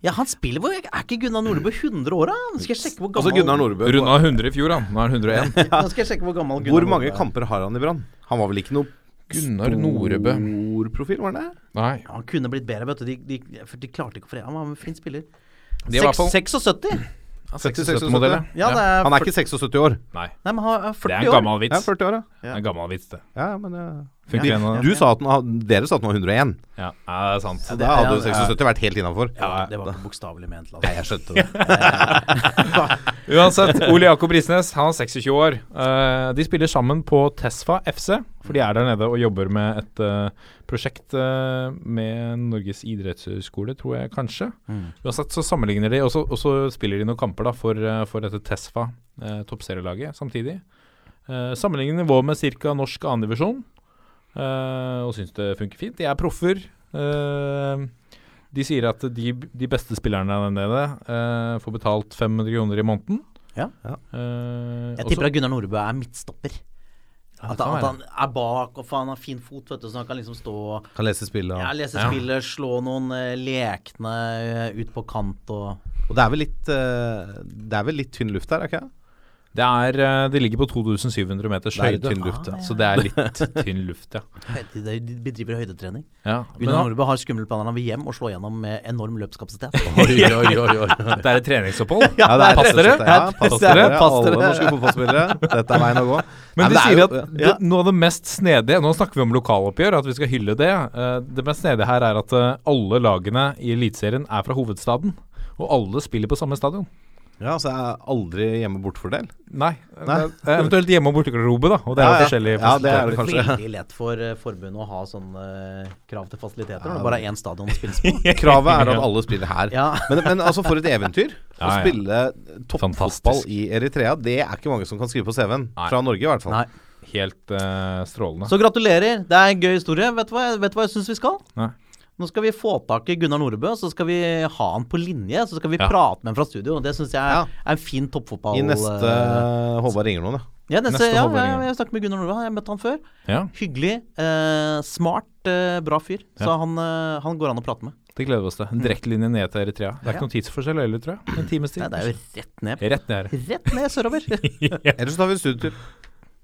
Ja, han spiller hvor Er ikke Gunnar Nordbø 100 år, da? Nå skal jeg sjekke hvor
Altså
gammel
Gunnar Nordbø.
Runda 100 i fjor, han. Nå er han 101.
Nå skal jeg sjekke hvor gammel Gunnar
Hvor mange
Nordbø er.
kamper har han i Brann? Han var vel ikke noe
Gunnar Norebø.
stor profil, var han det?
Nei.
Han kunne blitt bedre, vet du. De, de, for de klarte ikke å forene Han var en flink spiller.
De er i hvert fall-
Seks- 76?
76-modell, ja.
Ja, det er,
Han er ikke 76 år.
Nei.
Nei, men han er
Det er
40
en
år.
gammel
Ja,
vits.
40 år, ja.
Det er en gammel vits, det.
ja men, ja.
Funker igjen nå?
Du sa at den, har- dere sa at den var 101.
Ja, ja, det er sant.
Så da hadde jo
ja, ja.
76 vært helt innafor.
Ja, det var ikke bokstavelig ment.
Nei, jeg skjønte det.
Uansett, Ole Jakob Risnes, han er 26 år. Eh, de spiller sammen på Tesfa FC, for de er der nede og jobber med et eh, prosjekt eh, med Norges idrettshøgskole, tror jeg kanskje.
Mm.
Uansett så sammenligner de, og så- og så spiller de noen kamper da for, eh, for dette Tesfa, uh, toppserielaget, samtidig. Uh, sammenligner nivå med ca. norsk andredivisjon, uh, og syns det funker fint. De er proffer. eh, de sier at de, de beste spillerne der nede eh, får betalt 500 kroner i måneden.
Ja.
Eh,
Jeg
og så-
tipper at Gunnar Nordbø er midtstopper. At,
kan
at
være.
han er bak, og faen, han har fin fot, vet du, så han kan liksom stå og
Kan lese spillet.
ja,
og-
lese
Ja.
spillet, slå noen eh, lekne eh, ut på kant og
Og det er vel litt eh, Det er vel litt tynn luft der, er ikke det?
det er, eh, de ligger på 2700 meters
Det er
høyde.
tynn
Ah,
luft, ja.
Så det er litt tynn luft, ja.
Høyde- De de bedriver høydetrening.
ja. Men,
Gunnar
han-
Nordbø har skumle planer. Han vil hjem og slå gjennom med enorm løpskapasitet.
det er et treningsopphold.
[LAUGHS] Ja, det er
Pass dere.
rett og slett- Ja, pass
Pass dere.
dere. Alle norske fotballspillere. Dette er veien å gå.
Men de
det er
sier
jo-
at det, noe av det mest snedige Nå snakker vi om lokaloppgjør, at vi skal hylle det. Eh, det mest snedige her er at eh, alle lagene i Eliteserien er fra hovedstaden. Og alle spiller på samme stadion.
Ja, så jeg er aldri hjemme bortfordel.
Nei.
Nei.
det er Eventuelt hjemme- og bortegarderobe, da. Og det er
Ja,
jo
ja.
forskjellige
Ja, det er
fasiliteter.
det kanskje.
Veldig lett for eh, forbundet å ha sånne eh, krav til fasiliteter når det bare er én stadion å spilles på.
Kravet er at alle spiller her.
Ja.
Men, men altså, for et
[LAUGHS]
eventyr. Å
Ja, ja.
spille toppfotball
Fantastisk.
i Eritrea, det er ikke mange som kan skrive på CV-en.
Nei.
Fra Norge, i hvert fall.
Nei.
Helt eh, strålende.
Så gratulerer. Det er en gøy historie. Vet du hva, vet du hva jeg syns vi skal?
Nei.
Nå skal vi få tak i Gunnar Norebø, så skal vi ha han på linje. Så skal vi
Ja.
prate med ham fra studio. Det syns jeg
Ja.
er en fin toppfotball...
I neste
eh,
Håvard ringer noen, da.
ja, neste,
neste
ja,
håndball,
ja,
ja.
jeg snakket med Gunnar Norebø. Jeg møtte han før.
Ja,
Hyggelig, eh, smart, eh, bra fyr. Så
Ja.
han, eh, han går an å prate med.
det gleder vi oss til. En direktelinje ned til Eritrea. Det er
Ja.
ikke noen tidsforskjell heller, tror jeg. En times tid.
Nei, det er jo rett ned.
Rett ned.
Rett ned
[LAUGHS]
sørover.
Ellers tar vi en studietur.
[LAUGHS]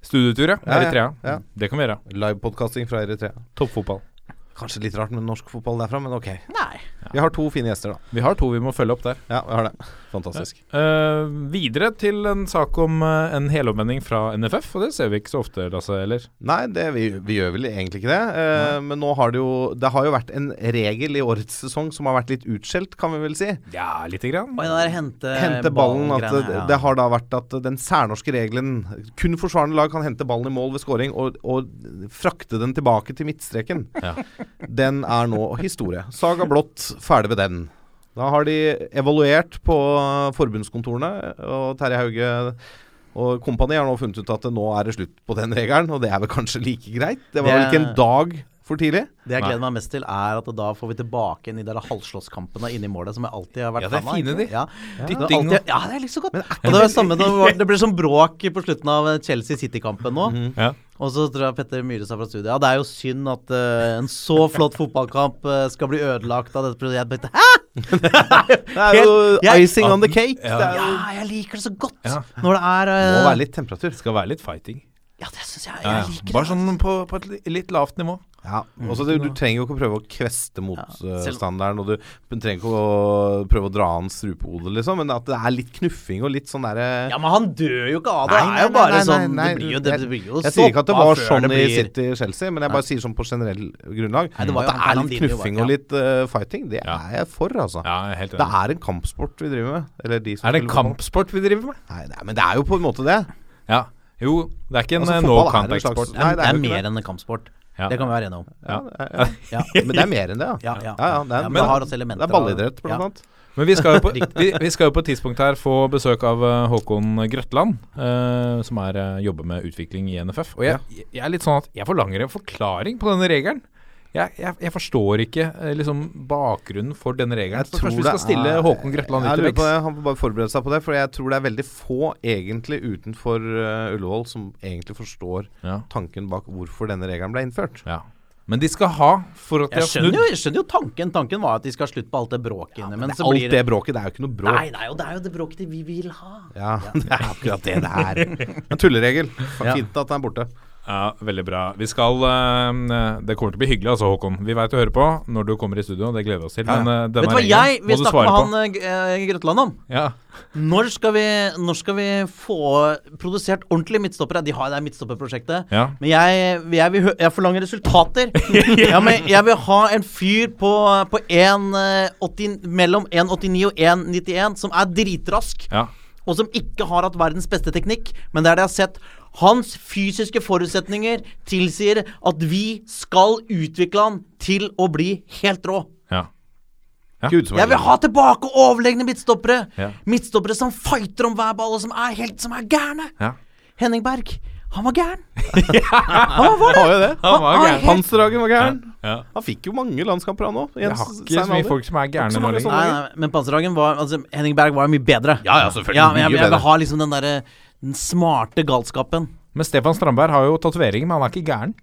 Studietur, ja.
ja,
Eritrea.
ja.
Det kan vi gjøre.
Livepodkasting fra Eritrea.
Toppfotball.
Kanskje litt rart med norsk fotball derfra, men ok.
Nei.
Vi har to fine gjester, da.
Vi har to vi må følge opp der.
Ja, vi har det. Fantastisk.
Eh, videre til en sak om eh, en helomvending fra NFF, og det ser vi ikke så ofte, Lasse, eller?
Nei, det, vi, vi gjør vel egentlig ikke det. Eh, men nå har det jo Det har jo vært en regel i årets sesong som har vært litt utskjelt, kan vi vel si.
Ja, lite grann.
Og den der hente,
Hente ballen at
ballen-greiene,
det,
Eh, ja.
det har da vært at den særnorske regelen Kun forsvarende lag kan hente ballen i mål ved scoring og, og frakte den tilbake til midtstreken. Den er nå historie. Saga Blått, ferdig med den. Da har de evaluert på eh, forbundskontorene, og Terje Hauge og kompani har nå funnet ut at det nå er det slutt på den regelen, og det er vel kanskje like greit? Det var vel
Det-
ikke en dag for tidlig?
Det jeg gleder meg mest til, er at da får vi tilbake inn de der halvslåsskampene inne i målet, som jeg alltid har vært
Ja, det er
fan av,
fine,
egentlig.
de.
Ja. Det var
Dytting og-
alltid, ja, det er liksom godt. Og det, var samme, det, var, det ble sånn bråk på slutten av eh, Chelsea City-kampen nå.
Mhm.
Ja.
Og så tror jeg Petter Myhre sa fra studiet Ja, det er jo synd at eh, en så flott fotballkamp eh, skal bli ødelagt av dette prosjektet. Jeg tenkte, Hæ?!
[LAUGHS] Det er jo
Helt- jeg-
icing on the cake. Det er jo,
Ja, jeg liker det så godt!
Ja.
Når det er eh,
må være litt temperatur.
Skal være litt fighting.
sånn-
Ja, det syns jeg. Jeg liker det.
Bare sånn på, på et li- litt lavt nivå.
Ja, også du, du trenger jo ikke å prøve å kveste
selv-
motstanderen, og du trenger ikke å prøve å dra an strupehodet, liksom, men at det er litt knuffing og litt sånn derre
Ja, men han dør jo ikke av det.
Nei,
Det er jo
nei,
bare
nei, nei,
sånn
nei,
Det blir jo, det
jeg-
blir jo
Jeg sier ikke at det
stoppa
var
før
sånn i
blir-
City-Chelsea, men jeg bare sier sånn på generell grunnlag.
det
at det er
var jo
litt
Fernandinho jo
knuffing og
bare, ja.
litt eh, fighting, det
Ja.
er jeg for,
Ja,
altså.
jeg er helt
Det
enig.
er en kampsport vi driver med. Eller de som
Er det en
spiller fotball.
kampsport vi driver med?
Nei, nei, men det er jo på en måte
[LAUGHS]
det.
Ja. Jo, det er ikke en
Altså,
eh, no
fotball er en slags-
contact-sport.
Det er,
Nei, det er jo
det
ikke
er mer enn en kampsport.
Ja.
Det kan vi være enige om.
Ja.
Ja,
Men det er mer enn det, [LAUGHS] ja.
ja, ja.
Ja, ja, det er- men-
men det har også
Det
elementer
er ballidrett, blant annet.
Men vi skal, jo
[LAUGHS]
på, vi, vi skal jo på et tidspunkt her få besøk av eh, Håkon Grøtland, eh, som er, eh, jobber med utvikling i NFF. Og jeg, jeg er litt sånn at jeg forlanger en forklaring på denne regelen. Jeg, jeg, jeg forstår ikke eh, liksom, bakgrunnen for denne regelen. Så kanskje vi skal stille
er-
Håkon Grøtland
jeg
litt til
lurer på
vekst.
det. Han får bare forberede seg på det, for jeg tror det er veldig få egentlig utenfor eh, Ullevål som egentlig forstår
Ja.
tanken bak hvorfor denne regelen ble innført.
Ja. Men de skal ha for at de
Jeg
har
skjønner,
snudd.
jo, jeg skjønner jo tanken. Tanken var at de skal ha slutt på alt det bråket inne. Men
Det er
så blir
alt
det
det bråket, det er jo ikke noe bråk.
Nei, det er jo det, er jo det bråket vi vil ha.
Ja, [LAUGHS] det er akkurat det det er. [LAUGHS] En tulleregel. Fint at den er borte.
Ja, Veldig bra. Vi skal eh, Det kommer til å bli hyggelig, altså, Håkon. Vi veit du hører på når du kommer i studio, og det gleder vi oss til. Men eh,
Vet du
denne
hva jeg
regelen
vil
må du
snakke med
svare
han
på.
eh, G- eh, Grøtland om?
Ja.
Når skal vi, når skal vi få produsert ordentlige midtstoppere? De har det der midtstopperprosjektet.
Ja.
Men jeg, jeg, vil, hø- jeg
[LAUGHS]
forlanger resultater. ja, men jeg vil ha en fyr på, på 1, eh, 80, mellom 1,89 og 1,91 som er dritrask,
ja.
og som ikke har hatt verdens beste teknikk, men det er det jeg har sett. Hans fysiske forutsetninger tilsier at vi skal utvikle han til å bli helt rå.
ja.
Gud, som
Jeg vil ha tilbake overlegne midtstoppere!
Ja.
Midtstoppere som fighter om hver ball, og som er helt som er gærne!
Ja.
Henning Berg, han var gæren! han var
har
det!
jo det.
Han var
Han er
gæren.
helt-
Panserhagen var gæren.
Ja.
Han fikk jo mange landskamper, han òg.
Jeg har ikke så mye folk som er
så
gærne nå
mange
lenger.
sånne.
Nei, nei, men Panserhagen var altså, Henning Berg var jo mye bedre. Ja, ja, selvfølgelig men jeg,
Mye
jeg, vil
bedre.
ha liksom den derre den smarte galskapen.
Men Stefan Strandberg har jo tatoveringer, men han er ikke gæren.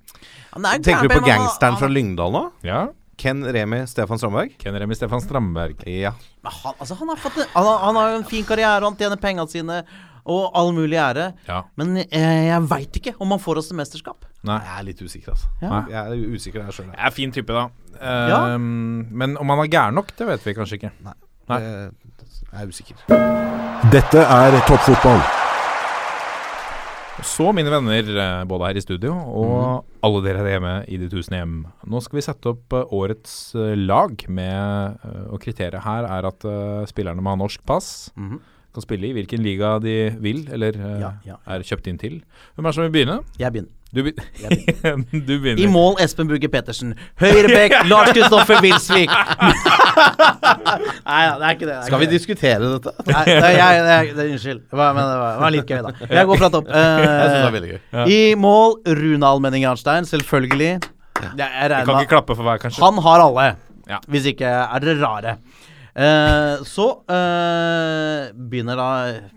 Han er
Tenker
gæren,
du på
men han-
gangsteren fra
han-
Lyngdal nå?
Ja.
Ken Remi Stefan Strandberg?
Kenner med Stefan Strandberg.
Ja.
men han, altså, han, har fått en, han, har- han har jo en fin karriere, han tjener penga sine og all mulig ære.
Ja.
Men eh, jeg veit ikke om han får oss til mesterskap.
Nei.
Jeg er litt usikker, altså.
Ja.
Jeg er usikker jeg sjøl.
Jeg er fin type, da. Eh,
Ja.
Men om han er gæren nok, det vet vi kanskje ikke. Nei.
Jeg er usikker.
Dette er toppfotball.
Så, mine venner, eh, både her i studio og alle dere her hjemme i de tusen hjem. Nå skal vi sette opp eh, årets eh, lag med eh, Og kriteriet her er at eh, spillerne må ha norsk pass. Kan spille i hvilken liga de vil, eller eh,
Ja, ja.
er kjøpt inn til. Hvem er det som vil begynne?
Jeg begynner.
Du, be [LAUGHS] du begynner.
I mål Espen Bugge Petersen.
[LAUGHS]
Høyrebekk Lars Kristoffer Wilsvik. Nei da, det er ikke det. det er
Skal vi
ikke det.
diskutere dette? Jeg
Nei, det, er- jeg, det, er- det, er- unnskyld. Det var, men det var, det var litt gøy,
[LAUGHS]
da. Jeg går fra topp.
synes det er
Eh,
veldig gøy.
I mål Rune Almenning Arnstein, selvfølgelig. Jeg, jeg
Jeg
regner
kan
med
ikke klappe for hver, kanskje.
han har alle.
Ja.
Hvis ikke er dere rare. Eh, så eh, begynner da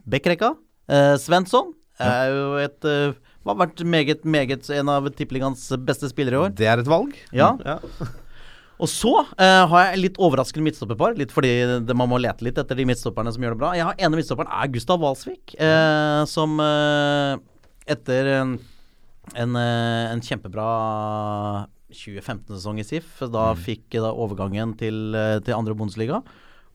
backrekka. Eh, Svensson er jo et eh, har vært meget, meget en av tippeligaens beste spillere i år.
Det er et valg.
Ja.
Ja.
[LAUGHS] Og så eh, har jeg litt overraskende midtstopperpar, litt fordi det, man må lete litt etter de midtstopperne som gjør det bra. Jeg har ene midtstopperen er Gustav Walsvik, eh, som eh, etter en, en, eh, en kjempebra 2015-sesong i SIF, da fikk eh, da overgangen til, eh, til andre Bundesliga.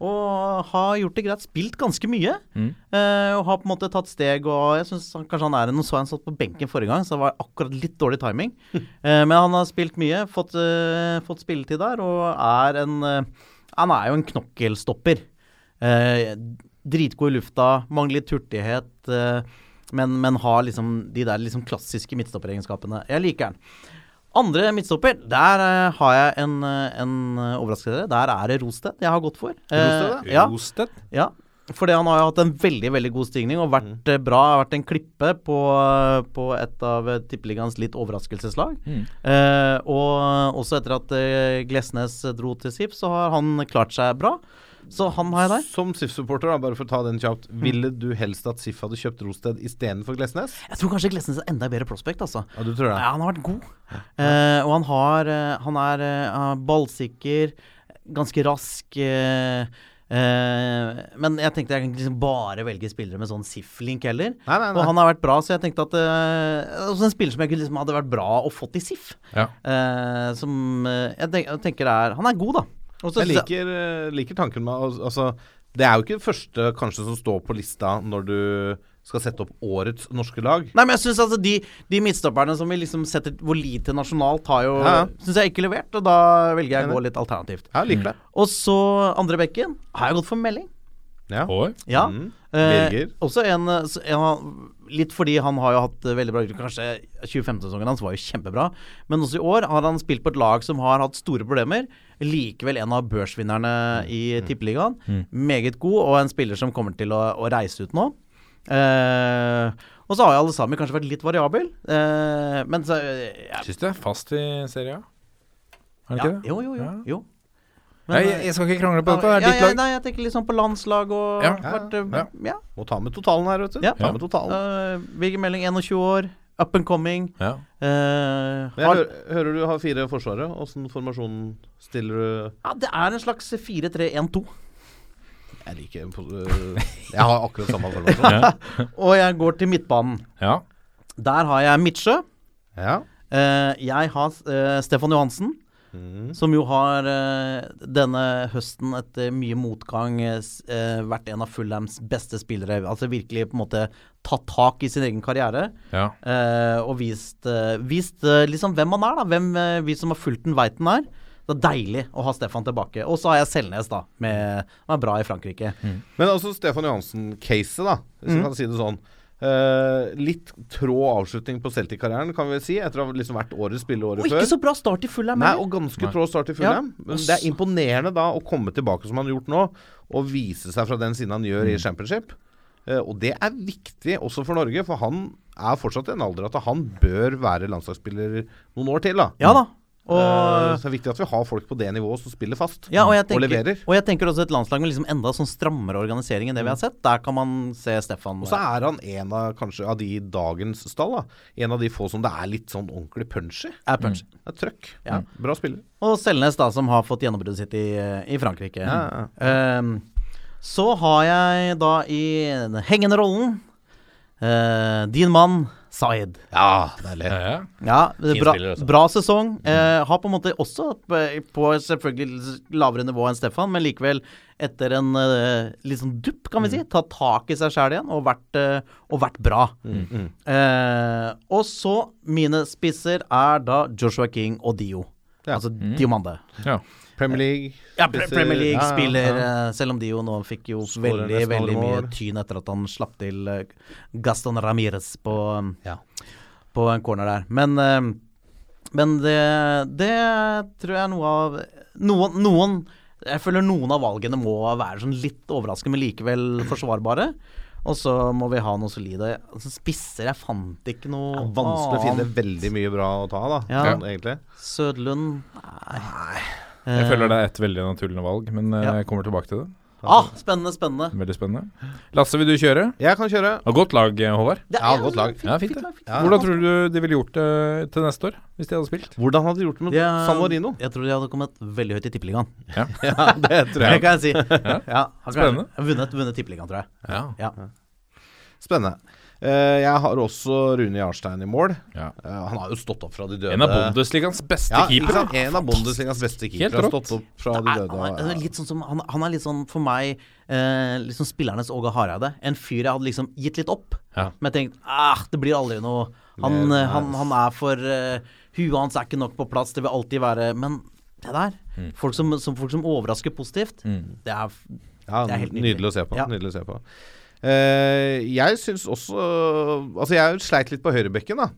Og har gjort det greit. Spilt ganske mye. eh, og har på en måte tatt steg og jeg synes han, Kanskje han er en Nå så jeg han satt på benken forrige gang, så det var akkurat litt dårlig timing. Eh, men han har spilt mye, fått, eh, fått spilletid der, og er en eh, Han er jo en knokkelstopper. Eh, dritgod i lufta, mangler litt hurtighet, eh, men, men har liksom de der liksom klassiske midtstopperegenskapene. Jeg liker han. Andre midtstopper, der eh, har jeg en, eh, en eh, overraskelse. Der er det Rosted jeg har gått for.
Rosted,
Eh, ja.
Rosted?
Ja, fordi han har jo hatt en veldig veldig god stigning og vært eh, bra. Har vært en klippe på, eh, på et av eh, tippeligaens litt overraskelseslag. Eh, og også etter at eh, Glesnes dro til SIP, så har han klart seg bra. Så han har jeg der. Mm.
Som SIF-supporter, da, bare for å ta den kjapt. Ville du helst at SIF hadde kjøpt Rosted istedenfor Glesnes?
Jeg tror kanskje Glesnes er enda bedre prospect, altså.
Ja, du tror det?
Ja, han har vært god. Eh, og han har eh, Han er eh, ballsikker, ganske rask. eh, Eh, men jeg tenkte jeg kan ikke liksom bare velge spillere med sånn SIF-link heller.
Nei, nei, nei.
Og han har vært bra, så jeg tenkte at eh, også En spiller som jeg kunne liksom hadde vært bra å fått i SIF.
Ja.
Eh, som eh, jeg, tenk, jeg tenker er Han er god, da. Og så
Jeg
synes jeg-
liker, eh, liker tanken med al- Altså, det er jo ikke det første kanskje som står på lista når du skal sette opp årets norske lag.
Nei, men jeg synes altså de, de midtstopperne som vi liksom setter vår lit til nasjonalt, har jo
Ja, ja.
Synes jeg ikke levert, og da velger jeg å gå litt alternativt.
Ja, liker det.
Og så andre bekken har jeg gått for melding.
Ja.
Oi.
Ja.
Mm.
Eh,
Birger.
også en, eh, s- en av- Litt fordi han har jo hatt eh, veldig bra utvikling. Kanskje 2015-sesongen hans var jo kjempebra, men også i år har han spilt på et lag som har hatt store problemer. Likevel en av børsvinnerne i
Mm.
Tippeligaen. Meget god, og en spiller som kommer til å, å reise ut nå. Eh, og så har jo alle sammen kanskje vært litt variabel, eh, men så ja,
Syns du er fast i Serie A? Er det
ja,
ikke det?
Jo, jo, jo.
Ja.
jo.
Nei, jeg, jeg skal ikke krangle på dette. Det er
ja,
ditt
ja,
lag.
Nei, jeg tenker litt sånn på landslag og
Ja.
vært, eh,
Ja.
ja.
Må ta med totalen her, vet du.
Ja.
Ta med totalen.
Uh, Birger Meling, 21 år. Up and coming.
Ja.
eh,
Men jeg
har,
hører, hører du har fire forsvarere. Åssen formasjon stiller du?
ja, det er en slags 4-3-1-2.
Jeg liker en pos- øh, Jeg har akkurat samme
[LAUGHS]
formasjon.
Og jeg går til midtbanen.
ja.
Der har jeg Midtsjø.
Ja.
Eh, jeg har eh, Stefan Johansen. Som jo har eh, denne høsten etter mye motgang eh, s- eh, vært en av Fulhams beste spillere. Altså virkelig på en måte tatt tak i sin egen karriere.
ja.
Eh, og vist, eh, vist eh, liksom hvem han er, da. Hvem eh, vi som har fulgt den, veit den er. Det er deilig å ha Stefan tilbake. Og så har jeg Selnes, da. Med, han er bra i Frankrike.
Men altså Stefan Johansen-caset, da, hvis vi
Mm.
kan si det sånn. Eh, litt trå avslutning på Celtic-karrieren, kan vi vel si, etter å ha liksom vært årets spiller året
Og
før.
ikke så bra start i Fulham.
Nei,
heller.
og ganske trå start i Fulham. Men det er imponerende da å komme tilbake som han har gjort nå, og vise seg fra den siden han gjør i championship. Eh, og det er viktig også for Norge, for han er fortsatt i en alder at han bør være landslagsspiller noen år til. da.
Ja da. Og,
Eh, så det er viktig at vi har folk på det nivået som spiller fast
ja, og, jeg
og
tenker,
leverer. Mm.
og jeg tenker også et landslag med liksom enda sånn strammere organisering enn det vi har sett. Der kan man se Stefan.
Og så er han en av kanskje av de i dagens stall, da. En av de få som det er litt sånn ordentlig punch i.
er punch.
Det er trøkk. Mm.
Ja.
Bra spiller.
Og Selnes, da, som har fått gjennombruddet sitt i, i Frankrike. Ehm, så har jeg da i den hengende rollen eh, din mann Zaid.
Ja, deilig.
Ja, ja.
Ja, bra,
spiller, altså.
bra sesong. Eh, har på en måte også, p- på selvfølgelig lavere nivå enn Stefan, men likevel etter en eh, litt sånn dupp, kan vi si, tatt tak i seg sjæl igjen og vært, eh, og vært bra. Eh, og så mine spisser er da Joshua King og Dio.
Ja.
Altså Diomande.
ja.
Premier League.
Ja, Pre-
spisser.
Premier eh,
Ja, ja,
League-spiller,
ja.
selv om de jo nå fikk jo
Skårer
veldig
nesten
veldig
alle
mye
mål.
tyn etter at han slapp til eh, Gaston Ramires på, um,
Ja.
på en corner der. Men, eh, men det, det tror jeg er noe av noen, noen Jeg føler noen av valgene må være sånn litt overraskende, men likevel forsvarbare. Og så må vi ha noe solide. Altså, spisser Jeg fant ikke noe
Det er Vanskelig å finne
annet.
veldig mye bra å ta, da.
Ja.
Sånn, egentlig.
Sødlund Nei.
Jeg føler det er et veldig naturlig valg, men eh,
Ja.
jeg kommer tilbake til det.
Ah, spennende, spennende.
Veldig spennende. Lasse, vil du kjøre?
Jeg kan kjøre.
Ja, godt lag, eh, Håvard.
Det
Ja,
er-
godt lag.
Ja, fint det.
Ja.
Hvordan tror du de ville gjort det til neste år, hvis de hadde spilt?
Hvordan hadde de gjort det med
Ja,
San
[LAUGHS]
Marino?
Jeg tror de hadde kommet veldig høyt i tippeligaen.
[LAUGHS] Ja, det tror
Det [LAUGHS] kan jeg si. ja. han kan-
Spennende.
Vunnet, vunnet tippeligaen, tror jeg.
Ja.
Ja.
Spennende. Eh, jeg har også Rune Jarstein i mål.
Ja.
Eh, han har jo stått opp fra de døde.
En av Bundesligas beste
ja, ikke
keepere.
sant? En av Bundesligas beste
Helt
keepere har
rått.
stått opp fra de
Er,
døde.
han,
Ja.
er, litt sånn som, han, han er litt sånn for meg eh, liksom spillernes Åge Hareide. En fyr jeg hadde liksom gitt litt opp.
Ja.
Men jeg tenkte ah, det blir aldri noe Han,
Mer
eh, han, han er for eh, Huet hans er ikke nok på plass, det vil alltid være Men det der folk, som, som, folk som overrasker positivt, det er
Ja,
Det er helt nydelig.
nydelig å se på.
Ja.
Nydelig å se på. Eh, jeg syns også Altså, jeg sleit litt på høyrebekken, da.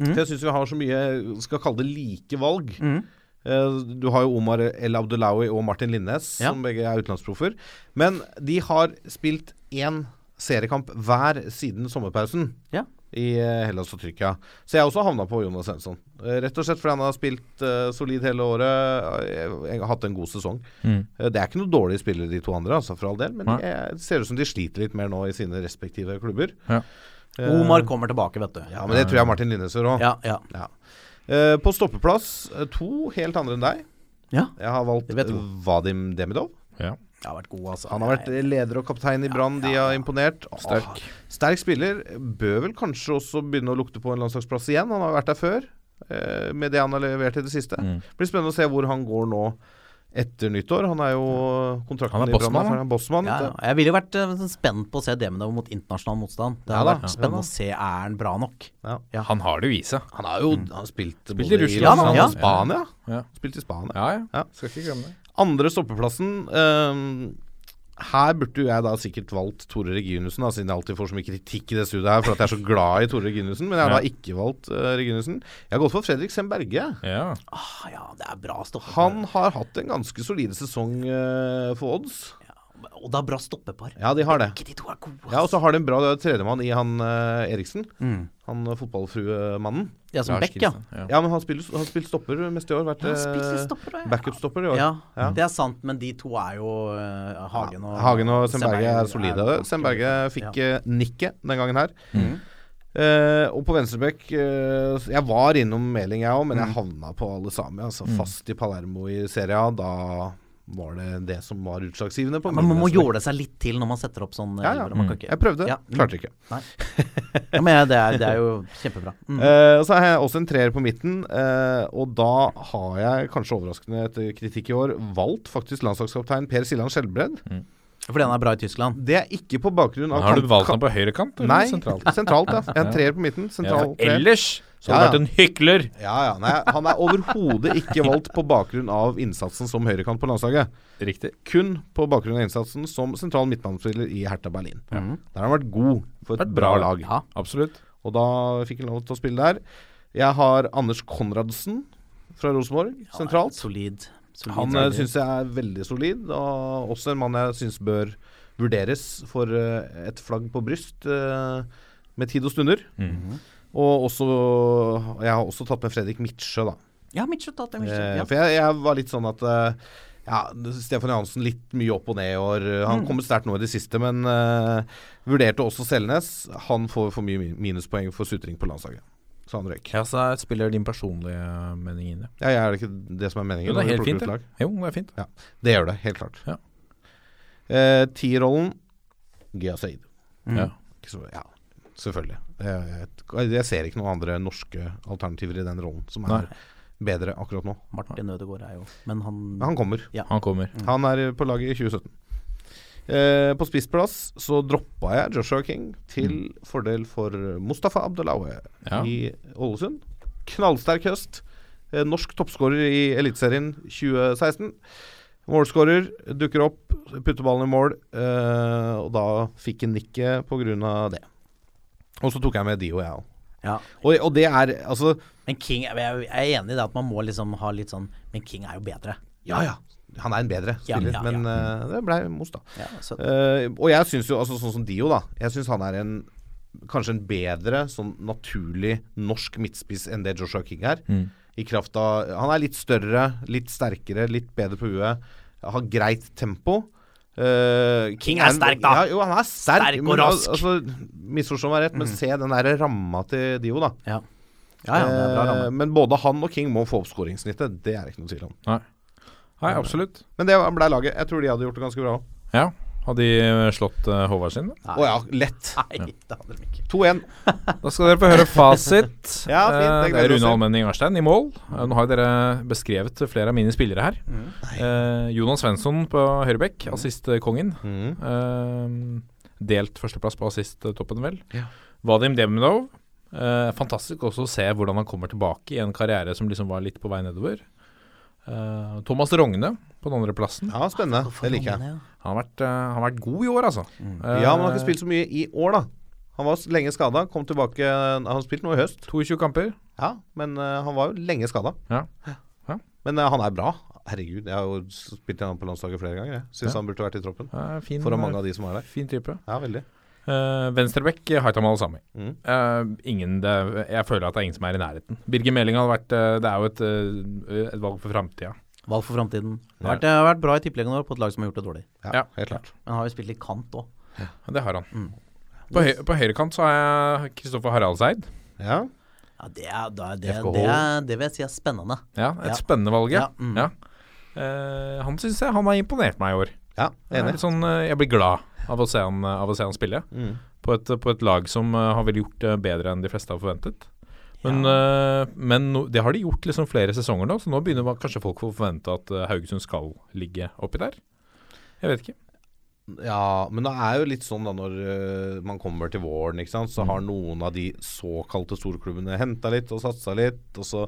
Mm.
For jeg syns vi har så mye Skal kalle det like valg. Eh, du har jo Omar El Abdelawi og Martin Linnes,
Ja.
som begge er utenlandsproffer. Men de har spilt én seriekamp hver siden sommerpausen
Ja.
i eh, Hellas og Tyrkia. Så jeg også havna på Jonas Svensson. Eh, Rett og slett fordi han har spilt eh, solid hele året, eh, eh, hatt en god sesong.
Mm.
Eh, Det er ikke noen dårlige spillere, de to andre, altså, for all del, men
Nei.
det er- det ser ut som de sliter litt mer nå i sine respektive klubber.
Ja.
Omar kommer tilbake, vet du.
Eh. Ja, men det tror jeg Martin Linnes gjør òg.
ja. ja.
På stoppeplass eh, to helt andre enn deg.
ja.
Jeg har valgt eh,
Det vet du.
Vadim Demidov.
Ja.
Jeg har vært god, altså.
Han har vært leder og kaptein i Brann. De har imponert. Åh,
Sterk.
Sterk spiller. Bør vel kanskje også begynne å lukte på en landslagsplass igjen. Han har vært der før, eh, med det han har levert i det siste.
Mm.
Blir spennende å se hvor han går nå etter nyttår. Han er jo kontrakten
Han er
i Brann.
bossmann,
er- Han er bossmann.
Ja, ja. jeg ville jo vært eh, spent på å se Demidov mot internasjonal motstand. Det
Ja
hadde
da,
vært
ja da.
spennende å se er han bra nok.
Han har det jo i seg.
Han har jo han har spilt, både
Mm. i Russland,
Russland
ja.
og Spania.
Ja.
Spilt i Spania.
Ja, ja.
Ja.
Skal ikke glemme det.
Andre stoppeplassen ehm, Her burde jo jeg da sikkert valgt Tore Reginussen, da, siden jeg alltid får så mye kritikk i det studioet her for at jeg er så glad i Tore Reginussen. Men jeg har
Ja.
da ikke valgt uh, Reginussen. Jeg har gått for Fredrik Sem Berge.
Ja.
Ah, ja, det er bra stoppepar.
Han har hatt en ganske solid sesong eh, for odds.
Og det er bra stoppepar.
Ja, de har det.
Ikke de to er gode. altså.
Ja, Og så har de en bra tredjemann i han eh, Eriksen. Han eh, fotballfruemannen.
Ja, som
Lars
Beck, ja.
Kristian, ja.
Ja, men han spiller, han har spilt stopper mest i år. Vært
Ja, han spilte
eh,
stopper, ja.
backup-stopper i år.
ja. Det er sant, men de to er jo eh, Hagen og
Hagen og Semberge er
Semberge
solide.
ganske-
Semberge fikk
ja.
eh, nikket den gangen her.
Mm.
Eh, og på venstrebekk eh, Jeg var innom Meling, jeg òg, men
Mm.
jeg havna på alle sammen. Altså fast i Palermo i Serie A. Da var det det som var utslagsgivende. på
Men man må
min venstrebekk.
jåle seg litt til når man setter opp sånn. eh,
Ja, Mm. ja.
Ibra. Man kan ikke-
Jeg prøvde,
Ja. Mm.
klarte ikke.
Nei. Ja, men eh, det er, det er jo kjempebra.
[LAUGHS]
Mm.
Eh, og så har jeg også en treer på midten, eh, og da har jeg, kanskje overraskende etter kritikk i år, valgt faktisk landslagskaptein Per Siljan Skjelbred.
Mm. Fordi han er bra i Tyskland.
Det er ikke på bakgrunn av
Har du
kamp-
valgt ham på
kamp-
høyrekant eller
Nei,
sentralt?
sentralt. [LAUGHS] ja. Jeg er en treer på midten.
Ja,
Sentral
for
treer.
ellers så har
Ja,
du vært en hykler!
Ja, ja. Nei, han er overhodet ikke valgt på bakgrunn av innsatsen som høyrekant på landslaget.
Riktig.
Kun på bakgrunn av innsatsen som sentral midtbanespiller i Hertha Berlin. Der har han vært god for et
Vært
bra
bra,
lag.
ja.
Absolutt.
Og da fikk han lov til å spille der. Jeg har Anders Konradsen fra Rosenborg sentralt.
Solid. solid
Han eh,
spiller.
syns jeg er veldig solid, og også en mann jeg syns bør vurderes for eh, et flagg på bryst eh, med tid og stunder.
Mhm.
Og også Jeg har også tatt med Fredrik Midtsjø, da.
Ja, Mitchell tatt det. Mitchell,
Eh,
ja.
For jeg, jeg var litt sånn at eh, ja, Stefan Johansen litt mye opp og ned i år.
Mm.
Han kommer sterkt nå i det siste, men eh, vurderte også Selnes. Han får for mye min- minuspoeng for sutring på landslaget. Så han røyk.
Ja, så spiller din personlige mening inn, ja.
Ja, ja, er det ikke det som er meningen?
Jo, det
når
er
du
helt
plukker
fint,
ut
det.
lag?
Jo, det er fint.
Ja, det gjør det, helt klart.
Ja.
Eh, Tierrollen Gea Said.
Ja.
Ikke så- Ja, selvfølgelig. Jeg, jeg, jeg ser ikke noen andre norske alternativer i den rollen som er bedre akkurat nå.
Martin Ødegaard er jo Men han,
Men han kommer.
Han kommer.
Mm. Han er på laget i 2017. Eh, på spissplass så droppa jeg Joshua King til
Mm.
fordel for Mustafa Abdelaue
Ja.
i Ålesund. Knallsterk høst. Eh, norsk toppskårer i Eliteserien 2016. Målskårer dukker opp, putter ballen i mål, eh, og da fikk han nikket pga. det. Og så tok jeg med Dio, jeg òg.
ja.
Og, og det er altså
Men King Jeg jeg er enig i det at man må liksom ha litt sånn Men King er jo bedre.
Ja ja, han er en bedre
Ja,
spiller,
ja,
men eh, det blei Mos, da.
Ja, så,
Eh, og jeg syns jo, altså sånn som Dio, da Jeg syns han er en kanskje en bedre sånn naturlig norsk midtspiss enn det Joshua King er.
Mm.
I kraft av Han er litt større, litt sterkere, litt bedre på huet. Har greit tempo. Eh,
King er
en-
sterk, da.
Ja, jo, han er sterk,
Sterk og
men al-
rask.
Altså, Misforstå meg rett, men se den der ramma til Dio, da.
ja. Mm. ja, ja, det er bra
Eh,
ramme.
men både han og King må få opp skåringssnittet. Det er det ikke noe tvil om.
Nei. Nei, absolutt.
Men det ble laget. Jeg tror de hadde gjort det ganske bra òg.
Ja. Har de eh, slått eh, Håvard sin? da?
Å ja, lett.
Nei, det hadde de ikke.
2-1.
Da skal dere få høre fasit.
[LAUGHS] Ja,
Eh,
fint, jeg
det er
gleder oss
Rune
til.
Almenning Arstein i mål. Eh, Nå har jo dere beskrevet flere av mine spillere her.
Mm.
Eh, Jonas Svensson på høyrebekk, assistkongen.
Mm.
Eh, delt førsteplass på assisttoppen, vel. Vadim Demidov. Eh, fantastisk også å se hvordan han kommer tilbake i en karriere som liksom var litt på vei nedover. Eh, Thomas Rogne på den andre plassen.
Ja, spennende. Det liker jeg.
Ja.
Han har vært, eh, han har vært god i år, altså. Eh,
Mm. Ja, men han har ikke spilt så mye i år, da. Han var s- lenge skada. Kom tilbake eh, Han har spilt nå i høst,
22 kamper.
ja, men eh, han var jo lenge skada.
Ja.
Men eh, han er bra. Herregud, jeg har jo spilt igjen på landslaget flere ganger. Jeg syns han burde vært i troppen.
Eh, fin,
Foran mange av de som er der.
Fin type.
Ja, veldig.
Uh, Venstrebekk, Haitam Al-Sami. Eh, ingen, det, jeg føler at det er ingen som er i nærheten. Birger Meling hadde vært eh, Det er jo et, eh, et valg for framtida.
Valg for framtiden. Det har vært, det har vært bra i tippeligaen vår på et lag som har gjort det dårlig.
Ja,
Ja.
helt klart.
Men har jo spilt litt kant òg.
Det har han. På, høy, på høyrekant så har jeg Kristoffer Haraldseid.
Ja.
Ja, det, er, da er det,
FKH.
det, er, det vil jeg si er spennende.
Ja, et
Ja.
spennende valg, ja.
Ja, mm.
Ja. Eh, han syns jeg han har imponert meg i år.
Ja, Ja,
Jeg, er
enig.
litt sånn, eh, jeg blir glad av å se han, eh, av å se han spille.
Mm.
På, et, på et lag som eh, har vel gjort det bedre enn de fleste har forventet. Men, eh, men no, det har de gjort liksom flere sesonger nå, så nå begynner man- kanskje folk å forvente at eh, Haugesund skal ligge oppi der. Jeg vet ikke.
Ja, men det er jo litt sånn da når øh, man kommer til våren, ikke sant, så har noen av de såkalte storklubbene henta litt og satsa litt, og så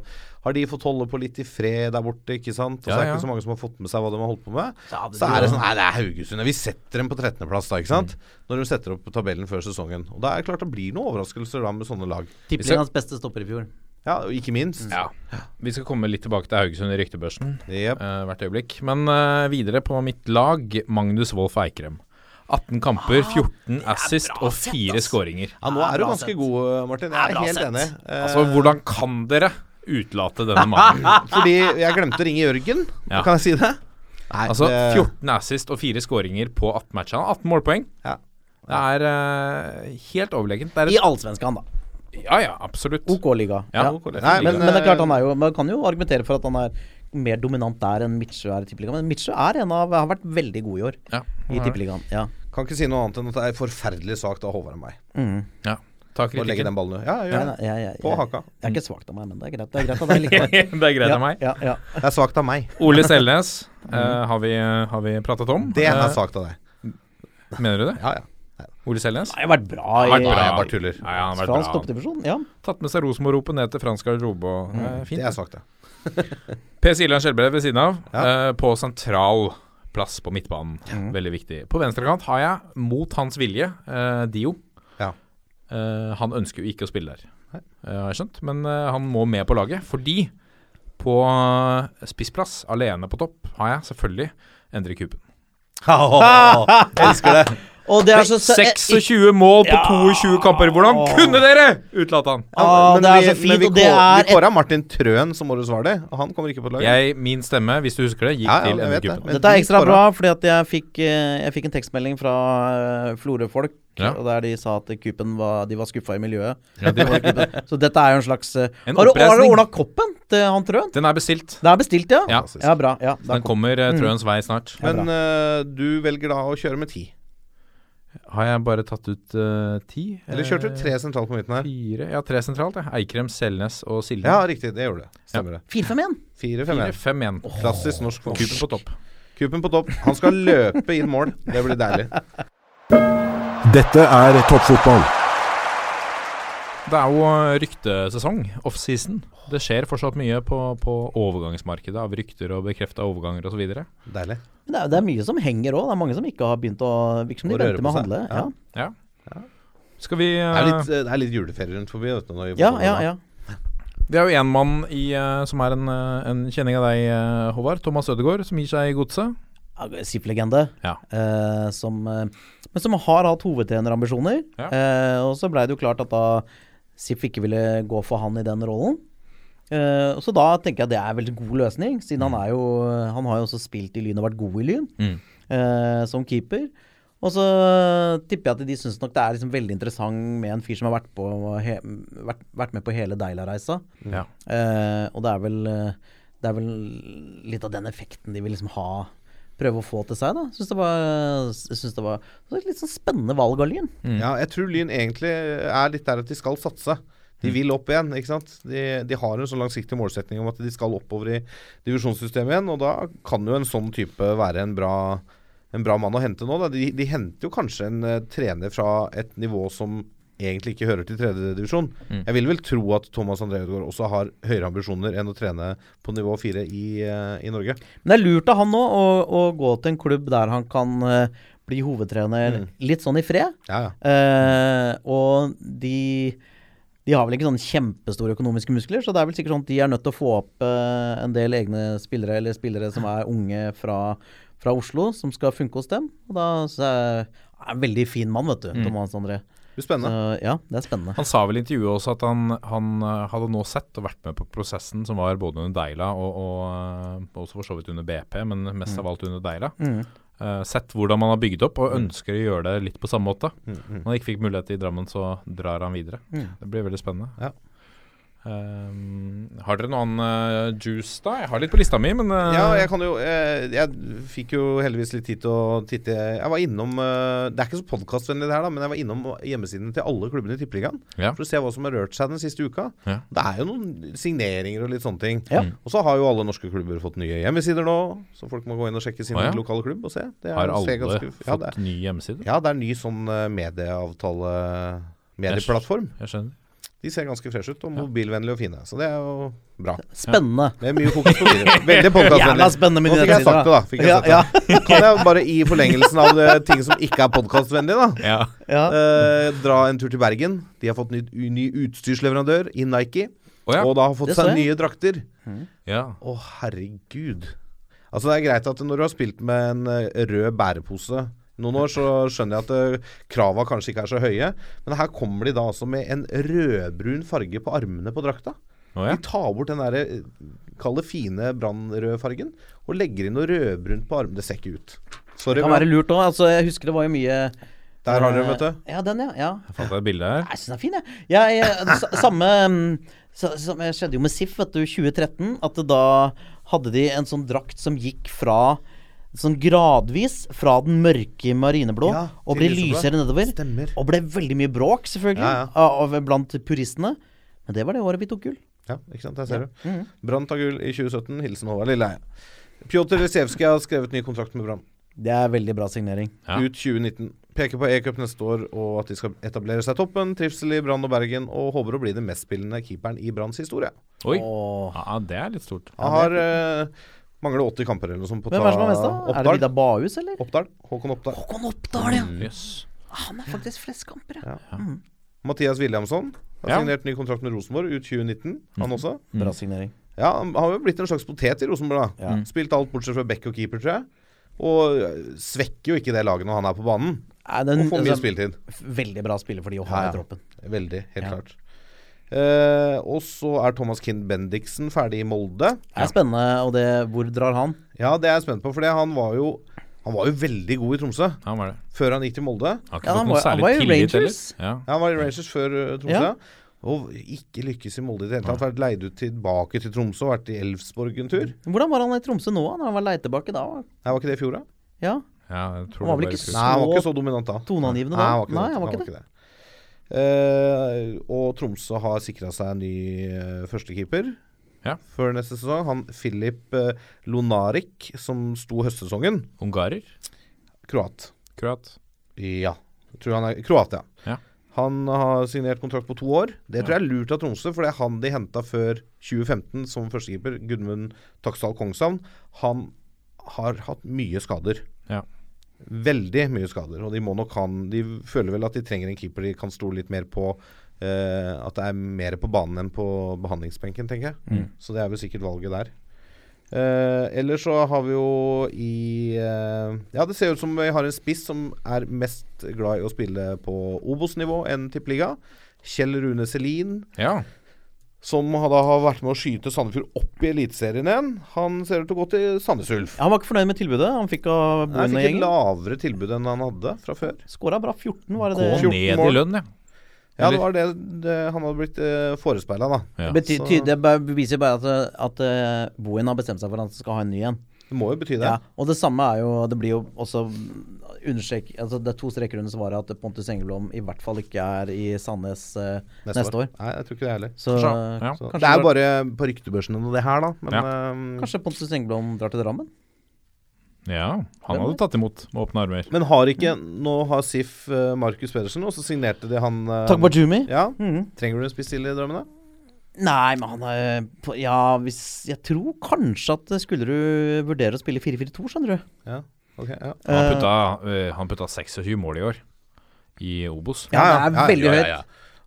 har de fått holde på litt i fred der borte, ikke sant. Og
Ja,
så er det
ja.
ikke så mange som har fått med seg hva de har holdt på med.
Ja, det-
Så er det sånn Nei, det er Haugesund. ja, Vi setter dem på 13.-plass da, ikke sant. Når de setter opp tabellen før sesongen. Og da er det klart det blir noen overraskelser da med sånne lag.
Tippeligaens beste stopper i fjor.
Ja, og ikke minst.
Mm. Vi skal komme litt tilbake til Haugesund i ryktebørsen
Jep.
eh, hvert øyeblikk. Men eh, videre på mitt lag, Magnus Wolff Eikrem. 18
Ah,
kamper, 14 assist og 4 skåringer.
Ja, nå er du
bra
ganske
sett.
god, eh, Martin. Jeg er
bra
helt
sett.
enig. Eh,
Altså, hvordan kan dere utelate denne
[LAUGHS]
mannen?
Fordi jeg glemte å ringe Jørgen.
Ja.
Kan jeg si det? Nei,
Altså,
det-
14 assist og 4 skåringer på 18 matcher. Han har 18 målpoeng.
Ja.
Det er eh, helt overlegent. Det er
I
et,
Allsvenskan, da.
ja, ja, absolutt.
OK liga.
Ja,
Ja.
Nei, eh,
men,
Men, men det er klart han er jo Man kan jo argumentere for at han er mer dominant der enn Mitsjø er i Tippeligaen. Men Mitsjø er en av har vært veldig god i år
ja,
i Tippeligaen. Ja.
Kan ikke si noe annet enn at det er forferdelig svakt av Håvard og meg.
ja. Ta
Å
[LAUGHS]
legge
kritikken.
den ballen ut. Ja,
Ja,
gjør det.
ja, ja, ja.
På haka.
Det er ikke svakt av meg, men det er greit. Det er greit at jeg
[LAUGHS]
liker
det er greit
ja,
av meg.
Ja, ja.
Det er svakt av meg.
Ole Selnes
[LAUGHS]
eh, har, vi, har vi pratet om.
Det
Eh,
er altså- svakt av deg.
mener du det?
Ja, ja.
Ole Selnes?
Det har vært bra i
Vært bra.
Nei, jeg bare tuller.
Ja, ja, han har
Fra hans
vært bra.
toppdivisjon, ja.
Tatt med seg Rosenborg-ropet ned til fransk garderobe. og- eh,
Mm. Det
Fint.
er
[LAUGHS]
svakt, ja.
Per Siljan Skjelbred ved siden av,
Ja. Mm.
eh, på sentral plass på midtbanen. Veldig viktig. På venstrekant har jeg, mot hans vilje, eh, Dio.
Ja.
Eh, han ønsker jo ikke å spille der, eh, har jeg skjønt. Men eh, han må med på laget, fordi på eh, spissplass, alene på topp, har jeg selvfølgelig Endre Kupen.
elsker
[LAUGHS]
det.
Og det er så så- eh,
26 mål på 22 kamper! Hvordan kunne dere?! Utelate han.
Ah, det er så fint,
vi,
og det
kå-
er
vi kåra Martin Trøen som årets var det, og han kommer ikke på laget.
Jeg, min stemme, hvis du husker det, gikk
Ja, ja,
til
jeg
Endre
vet det,
Kupen.
men
Dette er
vi
ekstra
kåra-
bra, fordi at jeg fikk, eh, jeg fikk en tekstmelding fra eh, Florø-folk,
Ja.
og der de sa at Kupen var, de var skuffa i miljøet.
Ja,
[LAUGHS]
det var-
Så dette er jo en slags eh,
En
Har du- har du
oppreisning.
ordna koppen til han Trøen?
Den er bestilt.
Det er bestilt, ja?
Ja.
ja bra. Ja, da
Den kommer
Mm.
eh, Trøens vei snart.
Men eh, du velger da å kjøre med ti.
Har jeg bare tatt ut eh, ti?
Eller kjørte
Eh,
du tre sentralt på midten her?
Fire Ja, tre sentralt. Ja. Eikrem, Selnes og Silje.
Ja, riktig. Det gjorde det. Stemmer det.
4-5-1.
Fire, fem,
Fire,
en.
fem, en.
Klassisk norsk
Kupen på
fotball.
topp.
Kupen på topp. Han skal løpe inn mål. Det blir deilig.
Dette er toppfotball.
Det er jo eh, ryktesesong, offseason. Det skjer fortsatt mye på, på overgangsmarkedet av rykter og bekrefta overganger osv.
Deilig.
Men Det er, det er mye som henger òg. Det er mange som ikke har begynt å Virker som de
Å røre
venter med å
på seg.
handle. Ja,
Ja. Skal vi
Det er
eh,
litt, det er litt juleferie rundt forbi. Vet du, når vi-
ja, ja. ja.
eh, Vi har jo én mann i, eh, som er en, eh, en kjenning av deg, eh, Håvard. Thomas Ødegaard, som gir seg i godset.
ja. SIF-legende.
Ja.
eh, som, eh, men som har hatt hovedtrenerambisjoner.
Ja.
Eh, og så blei det jo klart at da SIF ikke ville gå for han i den rollen. Eh, så da tenker jeg det er en veldig god løsning, siden han er jo Han har jo også spilt i Lyn og vært god i Lyn
Mm.
eh, som keeper. Og så tipper jeg at de syns nok det er liksom veldig interessant med en fyr som har vært, på, he, vært, vært med på hele Deila-reisa.
Ja.
Eh, og det er, vel, eh, det er vel litt av den effekten de vil liksom ha prøve å få til seg. da Syns det var, syns det var det var et litt sånn spennende valg av Lyn.
Ja, jeg tror Lyn egentlig er litt der at de skal satse. De vil opp igjen, ikke sant. De, de har en sånn langsiktig målsetning om at de skal oppover i divisjonssystemet igjen, og da kan jo en sånn type være en bra, en bra mann å hente nå. Da. De, de henter jo kanskje en eh, trener fra et nivå som egentlig ikke hører til tredjedivisjon. divisjon Jeg vil vel tro at Thomas André Ødegaard også har høyere ambisjoner enn å trene på nivå fire i, eh, i Norge.
Men det er lurt av han nå å, å gå til en klubb der han kan eh, bli hovedtrener litt sånn i fred.
Ja, ja.
Eh, og de de har vel ikke sånn kjempestore økonomiske muskler, så det er vel sikkert sånn at de er nødt til å få opp eh, en del egne spillere, eller spillere som er unge fra, fra Oslo, som skal funke hos dem. Og da så er er en veldig fin mann, vet du, Thomas André.
Det blir Mm. spennende.
Så, ja, det er spennende.
Han sa vel i intervjuet også at han, han eh, hadde nå sett og vært med på prosessen som var både under Deila og, og eh, også for så vidt under BP, men mest
Mm.
av alt under Deila. Eh, sett hvordan man har bygd opp, og ønsker å gjøre det litt på samme
Mm,
måte. Når han ikke fikk mulighet i Drammen, så drar han videre. Det blir veldig spennende.
Ja.
Ehm, har dere noe annen eh, juice, da? Jeg har litt på lista mi, men eh,
Ja, jeg kan jo eh, Jeg fikk jo heldigvis litt tid til å titte Jeg var innom eh, Det er ikke så podkastvennlig det her, da, men jeg var innom hjemmesiden til alle klubbene i Tippeligaen
Ja.
for å se hva som har rørt seg den siste uka.
Ja. Mm.
Det er jo noen signeringer og litt sånne ting.
Ja.
Og så har jo alle norske klubber fått nye hjemmesider nå, så folk må gå inn og sjekke sin
Å, ja.
lokale klubb og se. Det er-
har
ser
alle
ganske- ja, det
fått
er,
ny hjemmeside?
ja, det er ny sånn eh, medieavtale Medieplattform.
Jeg skjønner.
De ser ganske freshe ut, og mobilvennlige og fine. Så det er jo bra.
Spennende.
Det er mye fokus på videre. Veldig podkastvennlig.
Jævla spennende med
Nå fikk jeg
nyhetssider,
sagt det, da. Fikk jeg
Ja,
sagt det. Kan jeg bare i forlengelsen av det, ting som ikke er podkastvennlig, da
Ja.
Ja.
eh, dra en tur til Bergen. De har fått ny, ny utstyrsleverandør i Nike.
Å, ja.
Og da har fått
Det så
seg
jeg.
nye drakter.
ja.
Å, herregud. Altså, det er greit at når du har spilt med en eh, rød bærepose noen år, så skjønner jeg at eh, krava kanskje ikke er så høye. Men her kommer de da altså med en rødbrun farge på armene på drakta.
Å, ja.
De tar bort den derre eh, Kall det fine brannrøde fargen, og legger inn noe rødbrunt på armen. Det ser ikke ut. Sorry.
Det kan være
Bjørn.
lurt òg. Altså, jeg husker det var jo mye
Eh,
Eh,
Der har dere, vet du.
Ja, den, ja. ja.
Jeg fant deg et bilde her.
Jeg syns den er fin, jeg. jeg, jeg sa- samme mm, sa- samme skjedde jo med SIF vet du, 2013. At det da hadde de en sånn drakt som gikk fra Sånn gradvis fra den mørke marineblå
Ja,
og ble
til lyseblå.
lysere nedover.
Stemmer.
Og ble veldig mye bråk, selvfølgelig,
Ja, ja.
Av, blant puristene. Men det var det året vi tok gull.
Ja, ikke sant. Der ser du.
Mm.
Brann tar gull i 2017. Hilsen Håvard Lilleheie. Pjotr Lisevskij har skrevet ny kontrakt med Brann.
Det er veldig bra signering.
Ja.
ut 2019. Peker på E-cup neste år og at de skal etablere seg i toppen. Trivsel i Brann og Bergen, og håper å bli den mestspillende keeperen i Branns historie.
Oi.
Åh.
Ja, det er litt stort.
Han har eh, mangler 80 kamper eller noe sånt på å
Hvem er det som er mest, da? Er det
Oppdal.
Vidar Bahus, eller?
Oppdal. Håkon Oppdal.
Håkon Oppdal, ja.
Jøss.
Han har faktisk flest kamper, Mm. ja.
Mathias Williamson har
Ja.
signert ny kontrakt med Rosenborg ut 2019, han også.
Bra signering.
Ja, han har jo blitt en slags potet i Rosenborg, da. Spilt alt bortsett fra back og keeper, tror jeg. Og eh, svekker jo ikke det laget når han er på banen.
Er det en-
Og får mye
altså,
spilletid.
Veldig bra spiller for de å ha
Ja, ja.
i troppen.
Veldig, helt klart. Eh, og så er Thomas Kind Bendiksen ferdig i Molde.
Det er spennende, og det Hvor drar han?
Ja, det er jeg spent på, for han var jo Han var jo veldig god i Tromsø
Han var det.
før han gikk til Molde.
Han har ikke
Ja,
fått
han
noe
var- han
særlig
var i
tillit heller.
Rangers.
Ja.
Ja, han var i Rangers før eh, Tromsø.
Ja.
Og ikke lykkes i Molde i det hele tatt. Vært leid ut tilbake til Tromsø, vært i Elfsborg en tur.
Hvordan var han i Tromsø nå, når han var leid tilbake da?
Nei, var ikke det i fjor, da?
Ja,
ja, jeg tror
Han var
det
vel
i
ikke
fjor.
Nei, han var
Så
ikke så dominant da. Nei,
toneangivende da?
han var ikke,
Nei,
det.
han var
Han
ikke
var
det.
ikke det. Eh, og Tromsø har sikra seg en ny eh, førstekeeper
Ja.
før neste sesong. Han Filip eh, Lonarik, som sto høstsesongen.
Ungarer?
Kroat.
Kroat?
Ja. Jeg Tror han er Kroatia.
Ja.
Han har signert kontrakt på to år. Det tror jeg er lurt av Tromsø, for det er han de henta før 2015 som førstekeeper. Gudmund Taksdal Kongshavn. Han har hatt mye skader.
Ja.
Veldig mye skader. Og de må nok han De føler vel at de trenger en keeper de kan stole litt mer på. eh, at det er mer på banen enn på behandlingsbenken, tenker jeg.
Mm.
Så det er vel sikkert valget der. Eh, ellers så har vi jo i eh, Ja, det ser ut som vi har en spiss som er mest glad i å spille på Obos-nivå enn Tippeliga. Kjell Rune Selin,
Ja.
som har- da har vært med å skyte Sandefjord opp i Eliteserien igjen. Han ser ut til å gå til Sandnes Ulf.
Han var ikke fornøyd med tilbudet. Han fikk av
Han
boende
fikk et
gjengen.
lavere tilbud enn han hadde fra før.
Skåra bra 14, var det
Gå
det?
14
ned i
mål.
lønn, ja.
Ja,
Eller-
det var det, det han hadde blitt uh, forespeila, da.
Ja.
Bety
så-
ty det bare beviser bare at, at eh, Bohin har bestemt seg for at han skal ha en ny en.
Det må jo bety det.
Ja, og det samme er jo Det blir jo også understrek, altså Det er to streker under svaret at Pontus Engelblom i hvert fall ikke er i Sandnes eh, neste, år.
Nei, jeg tror ikke det heller.
Så
Så, ja.
Så,
kanskje,
det er bare på ryktebørsene og det her, da. Men eh,
kanskje Pontus Engelblom drar til Drammen?
ja. Han hadde tatt imot med åpne armer.
Men har ikke Nå har SIF eh, Markus Pedersen, og så signerte de han eh,
Tagbajumi?
Ja. Trenger du en spiss til i drømmene?
Nei, men han er på- Ja, hvis Jeg tror kanskje at skulle du vurdere å spille 4-4-2, skjønner du.
Ja. Ok, ja.
Han putta, eh, han putta 26 mål i år i Obos.
Ja,
Ja, ja,
det er
ja,
veldig
ja,
høyt.
ja, ja.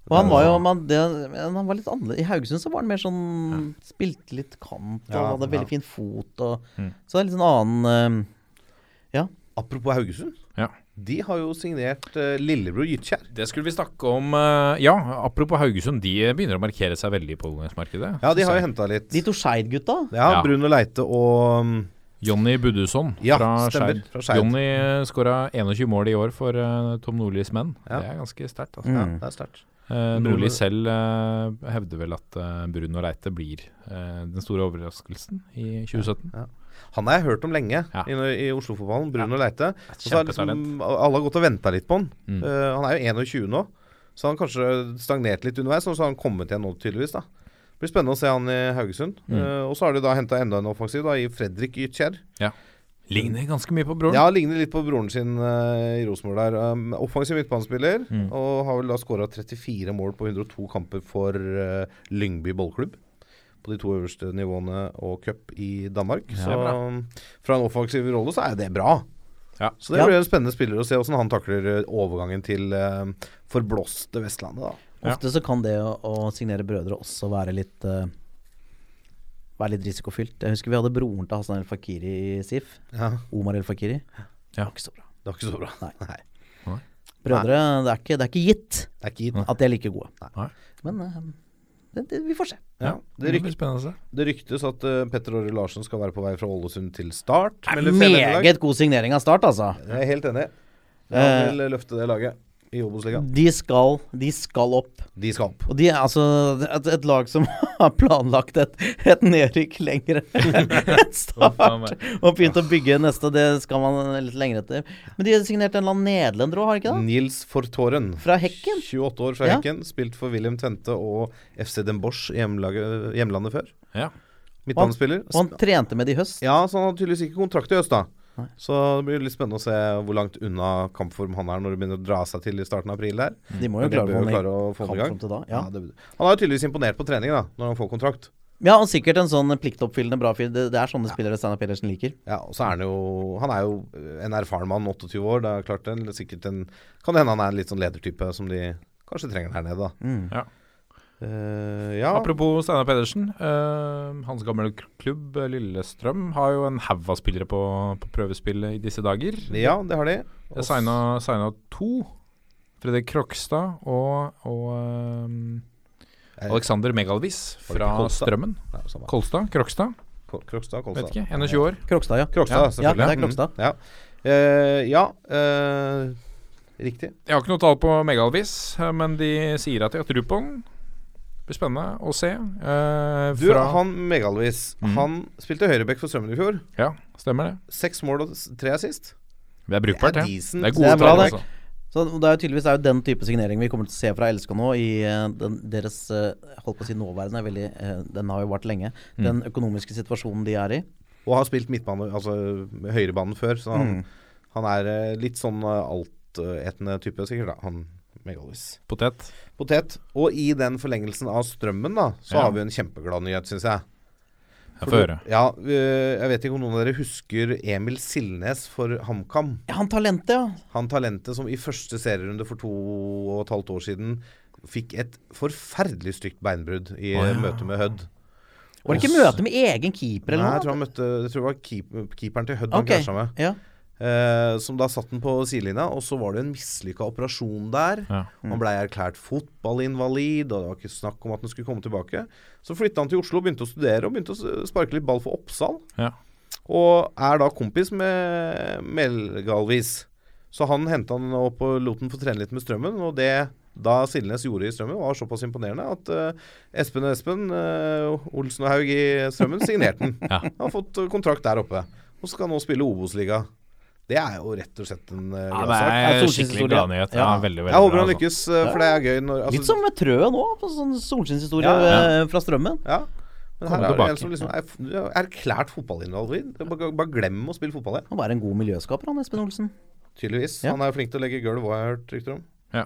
Og han var jo man, det, men Han var litt annerledes. I Haugesund så var han mer sånn Spilte litt kant og
Ja,
hadde
ja.
veldig fin fot og Så det er litt sånn annen eh,
Apropos Haugesund.
Ja.
De har jo signert eh, lillebror Gytkjær.
Det skulle vi snakke om. eh, Ja, apropos Haugesund. De begynner å markere seg veldig på overgangsmarkedet.
Ja, de har jo
Så-
henta litt.
De to Skeid-gutta.
Ja,
Ja.
Bruno Leite og um,
Johnny Budduson
Ja,
fra
stemmer,
Skeid.
fra Skeid.
Johnny skåra 21 mål i år for eh, Tom Nordlys menn.
Ja.
Det er ganske sterkt. Altså.
Ja, det er sterkt.
Eh, Nordli selv eh, hevder vel at eh, Bruno Reite blir eh, den store overraskelsen i 2017.
Han har jeg hørt om lenge
Ja.
i, i Oslo-fotballen. Bruno Leite. Og så har
Kjempetalent.
liksom, alle har gått og venta litt på han.
Mm.
Eh, han er jo 21 nå, så han har kanskje stagnert litt underveis. Og så har han kommet igjen nå, tydeligvis. da det blir spennende å se han i Haugesund.
Mm.
Eh, og så har de da henta enda en offensiv da, i Fredrik Ytkjær.
Ligner ganske mye på broren.
Ja, ligner litt på broren sin eh, i Rosenborg der. Um, offensiv midtbanespiller,
Mm.
og har vel da skåra 34 mål på 102 kamper for eh, Lyngby ballklubb. På de to øverste nivåene og cup i Danmark.
Ja,
så
bra.
um, fra en offensiv rolle så er det bra.
Ja.
Så det blir en spennende spiller å se åssen han takler eh, overgangen til eh, forblåste Vestlandet, da.
Ja.
Ofte så kan det å, å signere brødre også være litt eh, Være litt risikofylt. Jeg husker vi hadde broren til Hassan El Fakiri i SIF. Omar El Fakiri. Det var ikke så bra.
Det var ikke så bra.
Nei.
Nei.
Brødre, det er ikke, det er ikke gitt
Det er ikke gitt.
at de er like gode.
Nei.
Men eh, det, det, vi får se.
Ja. Det,
Det blir
ryk,
spennende å se.
det ryktes at eh, Petter Åre Larsen skal være på vei fra Ålesund til Start. melder Fjellenlag.
Meget god signering av Start, altså.
Jeg er helt enig.
Eh,
Jeg vil løfte det laget i Obos-ligaen.
De skal, de skal opp.
De skal opp.
Og de er altså et, et lag som [LAUGHS] har planlagt et, et nedrykk
[LAUGHS]
lenger enn
Å, faen
start.
meg.
Og begynt å bygge neste, det skal man litt lenger etter. Men de har signert en eller annen nederlender òg, har de ikke det?
Nils Fortoren.
Fra Hekken.
28 år fra
Ja.
Hekken. Spilt for Wilhelm Tvente og FC Den Bosch i hjemlaget- hjemlandet før.
Ja.
Midtbanespiller.
Og han trente med de i høst.
Ja, så han har tydeligvis ikke kontrakt i øst, da.
Nei.
Så det blir litt spennende å se hvor langt unna kampform han er når det begynner å dra seg til i starten av april der.
De må jo
Men de
klare
bør jo
å
klare å få den i gang.
kampform til da. Ja.
det, han er jo tydeligvis imponert på trening, da, når han får kontrakt.
ja, og sikkert en sånn pliktoppfyllende bra fyr. Det, det er sånne spillere Steinar Pedersen liker.
Ja, og så er han jo Han er jo eh, en erfaren mann, 28 år. Det er klart en, sikkert en Kan det hende han er en litt sånn ledertype som de kanskje trenger her nede, da.
Mm.
Ja.
Eh, ja.
Apropos Steinar Pedersen. eh, hans gamle k- klubb eh, Lillestrøm har jo en haug av spillere på, på prøvespillet i disse dager.
ja, det har de.
Jeg signa, signa to. Fredrik Krokstad og, og eh,
Eh,
Alexander Megalvis
Var det
fra
ikke Kolstad?
Strømmen.
Nei, samme.
Kolstad? Krokstad?
Ko- Krokstad,
Vet
Kolstad.
ikke. 21 år.
Krokstad, ja.
Krokstad,
Ja,
selvfølgelig.
det er Krokstad.
Mm, ja. Eh, ja eh, riktig.
Jeg har ikke noe tall på Megalvis, eh, men de sier at de har tro på den. Det blir spennende å se. Eh,
Du,
fra,
han Megalvis,
Mm.
han spilte høyrebekk for Strømmen i fjor.
Ja, stemmer det.
Seks mål og s- tre assist.
Det er brukbart, det. Det
decent.
er
Det
gode
er bra,
tall,
det.
altså.
Så det er jo tydeligvis det er jo den type signering vi kommer til å se fra LSK nå i eh, den, deres eh, holdt på å si nåværende, er veldig, eh, den har jo vart lenge,
Mm.
den økonomiske situasjonen de er i.
Og har spilt midtbane, altså høyrebanen før, så han,
Mm.
han er eh, litt sånn eh, altetende type sikkert, da. Han Megalvis.
Potet.
Potet. Og i den forlengelsen av strømmen, da, så
Ja.
har vi en kjempeglad nyhet, syns jeg.
Jeg får høre.
Ja, eh, jeg vet ikke om noen av dere husker Emil Silnes for HamKam.
Ja, han talentet, ja.
Han talentet som i første serierunde for to og et halvt år siden fikk et forferdelig stygt beinbrudd i
Å, ja.
møte med Hødd.
Var det ikke møte med egen keeper
Nei, jeg
eller
tror
noe?
han møtte Jeg tror det var keep, keeperen til Hødd han
Ok.
krasja med.
Ja.
Eh, som da satt den på sidelinja, og så var det en mislykka operasjon der.
Ja.
Han blei erklært fotballinvalid, og det var ikke snakk om at han skulle komme tilbake. Så flytta han til Oslo, begynte å studere og begynte å s- sparke litt ball for Oppsal.
Ja.
Og er da kompis med Melgalvis. Så han henta han opp og lot han få trene litt med Strømmen, og det da Silnes gjorde i Strømmen, var såpass imponerende at eh, Espen og Espen, eh, Olsen og Haug i Strømmen, signerte den.
[LAUGHS] Ja.
Han har fått eh, kontrakt der oppe, og skal nå spille Obos-liga. Det er jo rett og slett en uh,
Ja,
bra
det
sak.
er
solskinnshistorie.
skikkelig glad nyhet. Ja,
Ja.
veldig, veldig
Jeg håper
bra,
han
altså.
lykkes, eh, for det er gøy når altså,
Litt som med Trøen nå, på sånn solskinnshistorie
Ja, ja.
eh, fra Strømmen.
Ja. Men her
sånn. Kommer
er det en
tilbake.
som liksom er, f- er erklært fotballinvalid. Bare, bare glem å spille fotball, jeg.
Han var en god miljøskaper, han Espen Olsen.
Tydeligvis.
Ja.
Han er flink til å legge gulv, har jeg hørt rykter om.
Ja.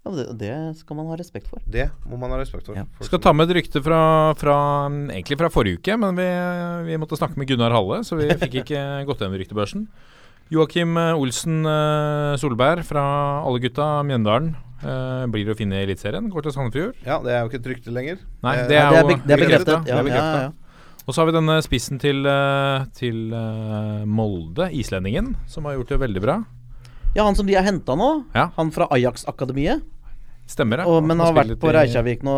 Ja, det, det skal man ha respekt for.
Det må man ha respekt for.
Ja.
Folk
Skal
som-
ta med et rykte fra, fra egentlig fra forrige uke, men vi, vi måtte snakke med Gunnar Halle, så vi fikk ikke [LAUGHS] gått gjennom ryktebørsen. Joakim eh, Olsen eh, Solberg fra Alle gutta Mjøndalen eh, blir å finne i Eliteserien. Går til Sandefjord.
Ja, det er jo ikke et rykte lenger.
Nei,
Eh,
det er
Det er,
jo
be det er
bekreftet,
bekreftet.
det
Ja,
er bekreftet.
ja, ja.
Og så har vi denne spissen til, eh, til eh, Molde, islendingen, som har gjort det veldig bra.
ja, han som de har henta nå,
Ja.
han fra Ajax-akademiet,
Stemmer det.
og- men har vært
spilt
på
i-
Reykjavik nå.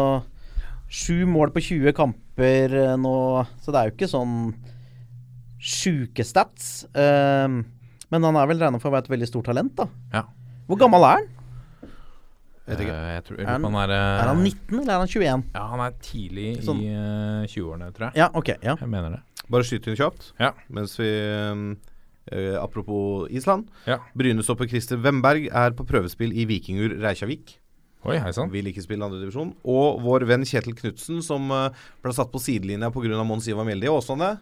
Sju mål på 20 kamper eh, nå, så det er jo ikke sånn sjuke stats. Ehm, men han er vel regna for å være et veldig stort talent, da.
Ja.
Hvor gammel er han?
Vet ikke.
Eh, Jeg tror, jeg
Er
lurer på han er,
Er han 19, eller er han 21?
Ja, han er tidlig
Sånn.
i eh, 20-årene, tror jeg.
Ja, ok. ja
Jeg mener det.
Bare skyte inn kjapt.
Ja.
Mens vi ehm, eh, Apropos Island.
Ja.
Brynestopper Christer Wemberg er på prøvespill i Vikingur Reykjavik.
Oi, hei sann.
Vil ikke spille andredivisjon. Og vår venn Kjetil Knutsen, som eh, ble satt på sidelinja pga. Mons Ivar Mjelde i Åsane,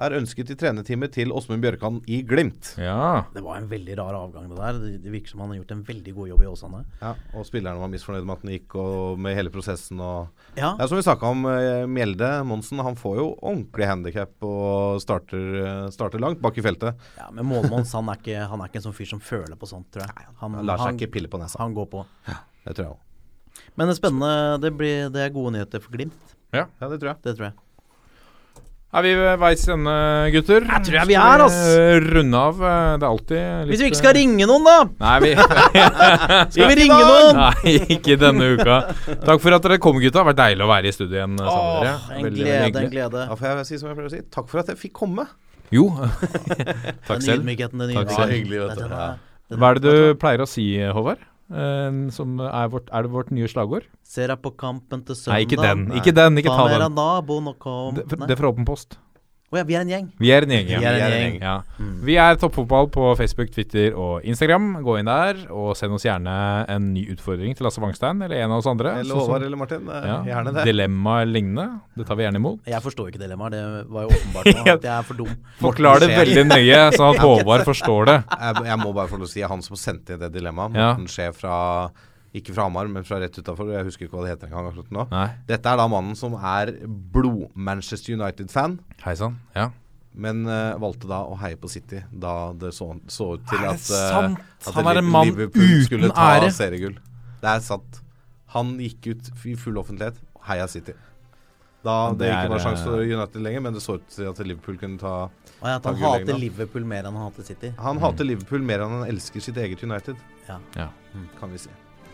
er ønsket i trenetime til Åsmund Bjørkan i Glimt.
Ja.
Det var en veldig rar avgang, det der. Det- Det virker som han har gjort en veldig god jobb i Åsane.
Ja, og spillerne var misfornøyd med at den gikk, og med hele prosessen og
Ja,
Det er som vi snakka om, eh, Mjelde Monsen. Han får jo ordentlig handikap og starter, eh, starter langt bak i feltet.
ja Men Målmåns han er, ikke, han er ikke en sånn fyr som føler på sånt, tror jeg. Han,
Han lar seg
han,
ikke pille på nesa.
han går på.
Det tror jeg òg.
Men det er spennende. Det, blir, det er gode nyheter for Glimt.
Ja, det tror jeg.
Det tror jeg.
Er vi ved veis ende, gutter? Jeg
tror jeg vi er, ass.
Runde av. eh, Det er alltid litt eh,
Hvis vi ikke skal ringe noen, da!
Nei,
[LAUGHS]
vi
Skal vi ringe noen?
Nei, ikke denne uka. Takk for at dere kom, gutta. Det har vært deilig å være i studio igjen eh, sammen med dere.
Åh, en
Veldig, veldig
glede, en
hyggelig.
glede.
Da får jeg si som jeg pleier å si, takk for at jeg fikk komme.
Jo. Takk
Den
selv.
ydmykheten, den
Takk
ydmykheten.
selv.
Hyggelig, vet du.
Den er- den
Hva
er-
er det du pleier å si, Håvard? Eh, Som er, vårt, er det vårt nye slagord?
Ser deg på kampen til søndag.
Nei, ikke den. Ikke den, ikke ta den.
naboen og kom
Det,
Nei.
det er fra Åpen post.
Å ja, vi er en gjeng.
Vi er en gjeng, ja.
Vi er en gjeng.
Ja. Vi er Toppfotball på Facebook, Twitter og Instagram. Gå inn der, og send oss gjerne en ny utfordring til Lasse Wangstein eller en av oss andre.
Eller
Sånn som-
Håvard eller Martin. eh,
ja,
Gjerne det.
Dilemma eller lignende. Det tar vi gjerne imot.
Jeg forstår ikke dilemmaet. Det var jo
[LAUGHS]
åpenbart nå at jeg er for dum.
Forklar det
Morten
veldig nøye, sånn at Håvard forstår det.
Jeg, jeg må bare få lov til å si det er han som sendte inn det dilemmaet.
Ja.
Morten Skje fra Ikke fra Hamar, men fra rett utafor. Jeg husker ikke hva det heter engang akkurat nå.
Nei,
Dette er da mannen som er blod-Manchester United-fan.
hei sann. Ja.
Men eh, valgte da å heie på City da det så, så ut til
Er det
at, eh,
sant?
at
Han er en
Liv-
mann uten
skulle ta
ære.
seriegull. Det er sant. Han gikk ut i full offentlighet og heia City. Da det,
Det er,
ikke var sjanse for
eh,
United lenger, men det så ut til at Liverpool kunne ta
Og at han
Takk, Gulleng, da.
hater Liverpool mer enn han hater City.
Han
Mm.
hater Liverpool mer enn han elsker sitt eget United,
ja.
kan vi si.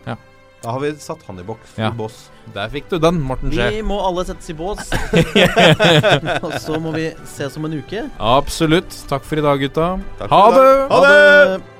Ja.
Da har vi satt han i boks.
Ja.
Ja. Boss.
Der fikk du den, Morten Skje.
Vi må alle settes
[LAUGHS]
i bås. [LAUGHS] og så må vi ses om en uke.
Absolutt. Takk for i dag, gutta.
Takk for
Ha
i dag.
det!
Ha det!
Ha det!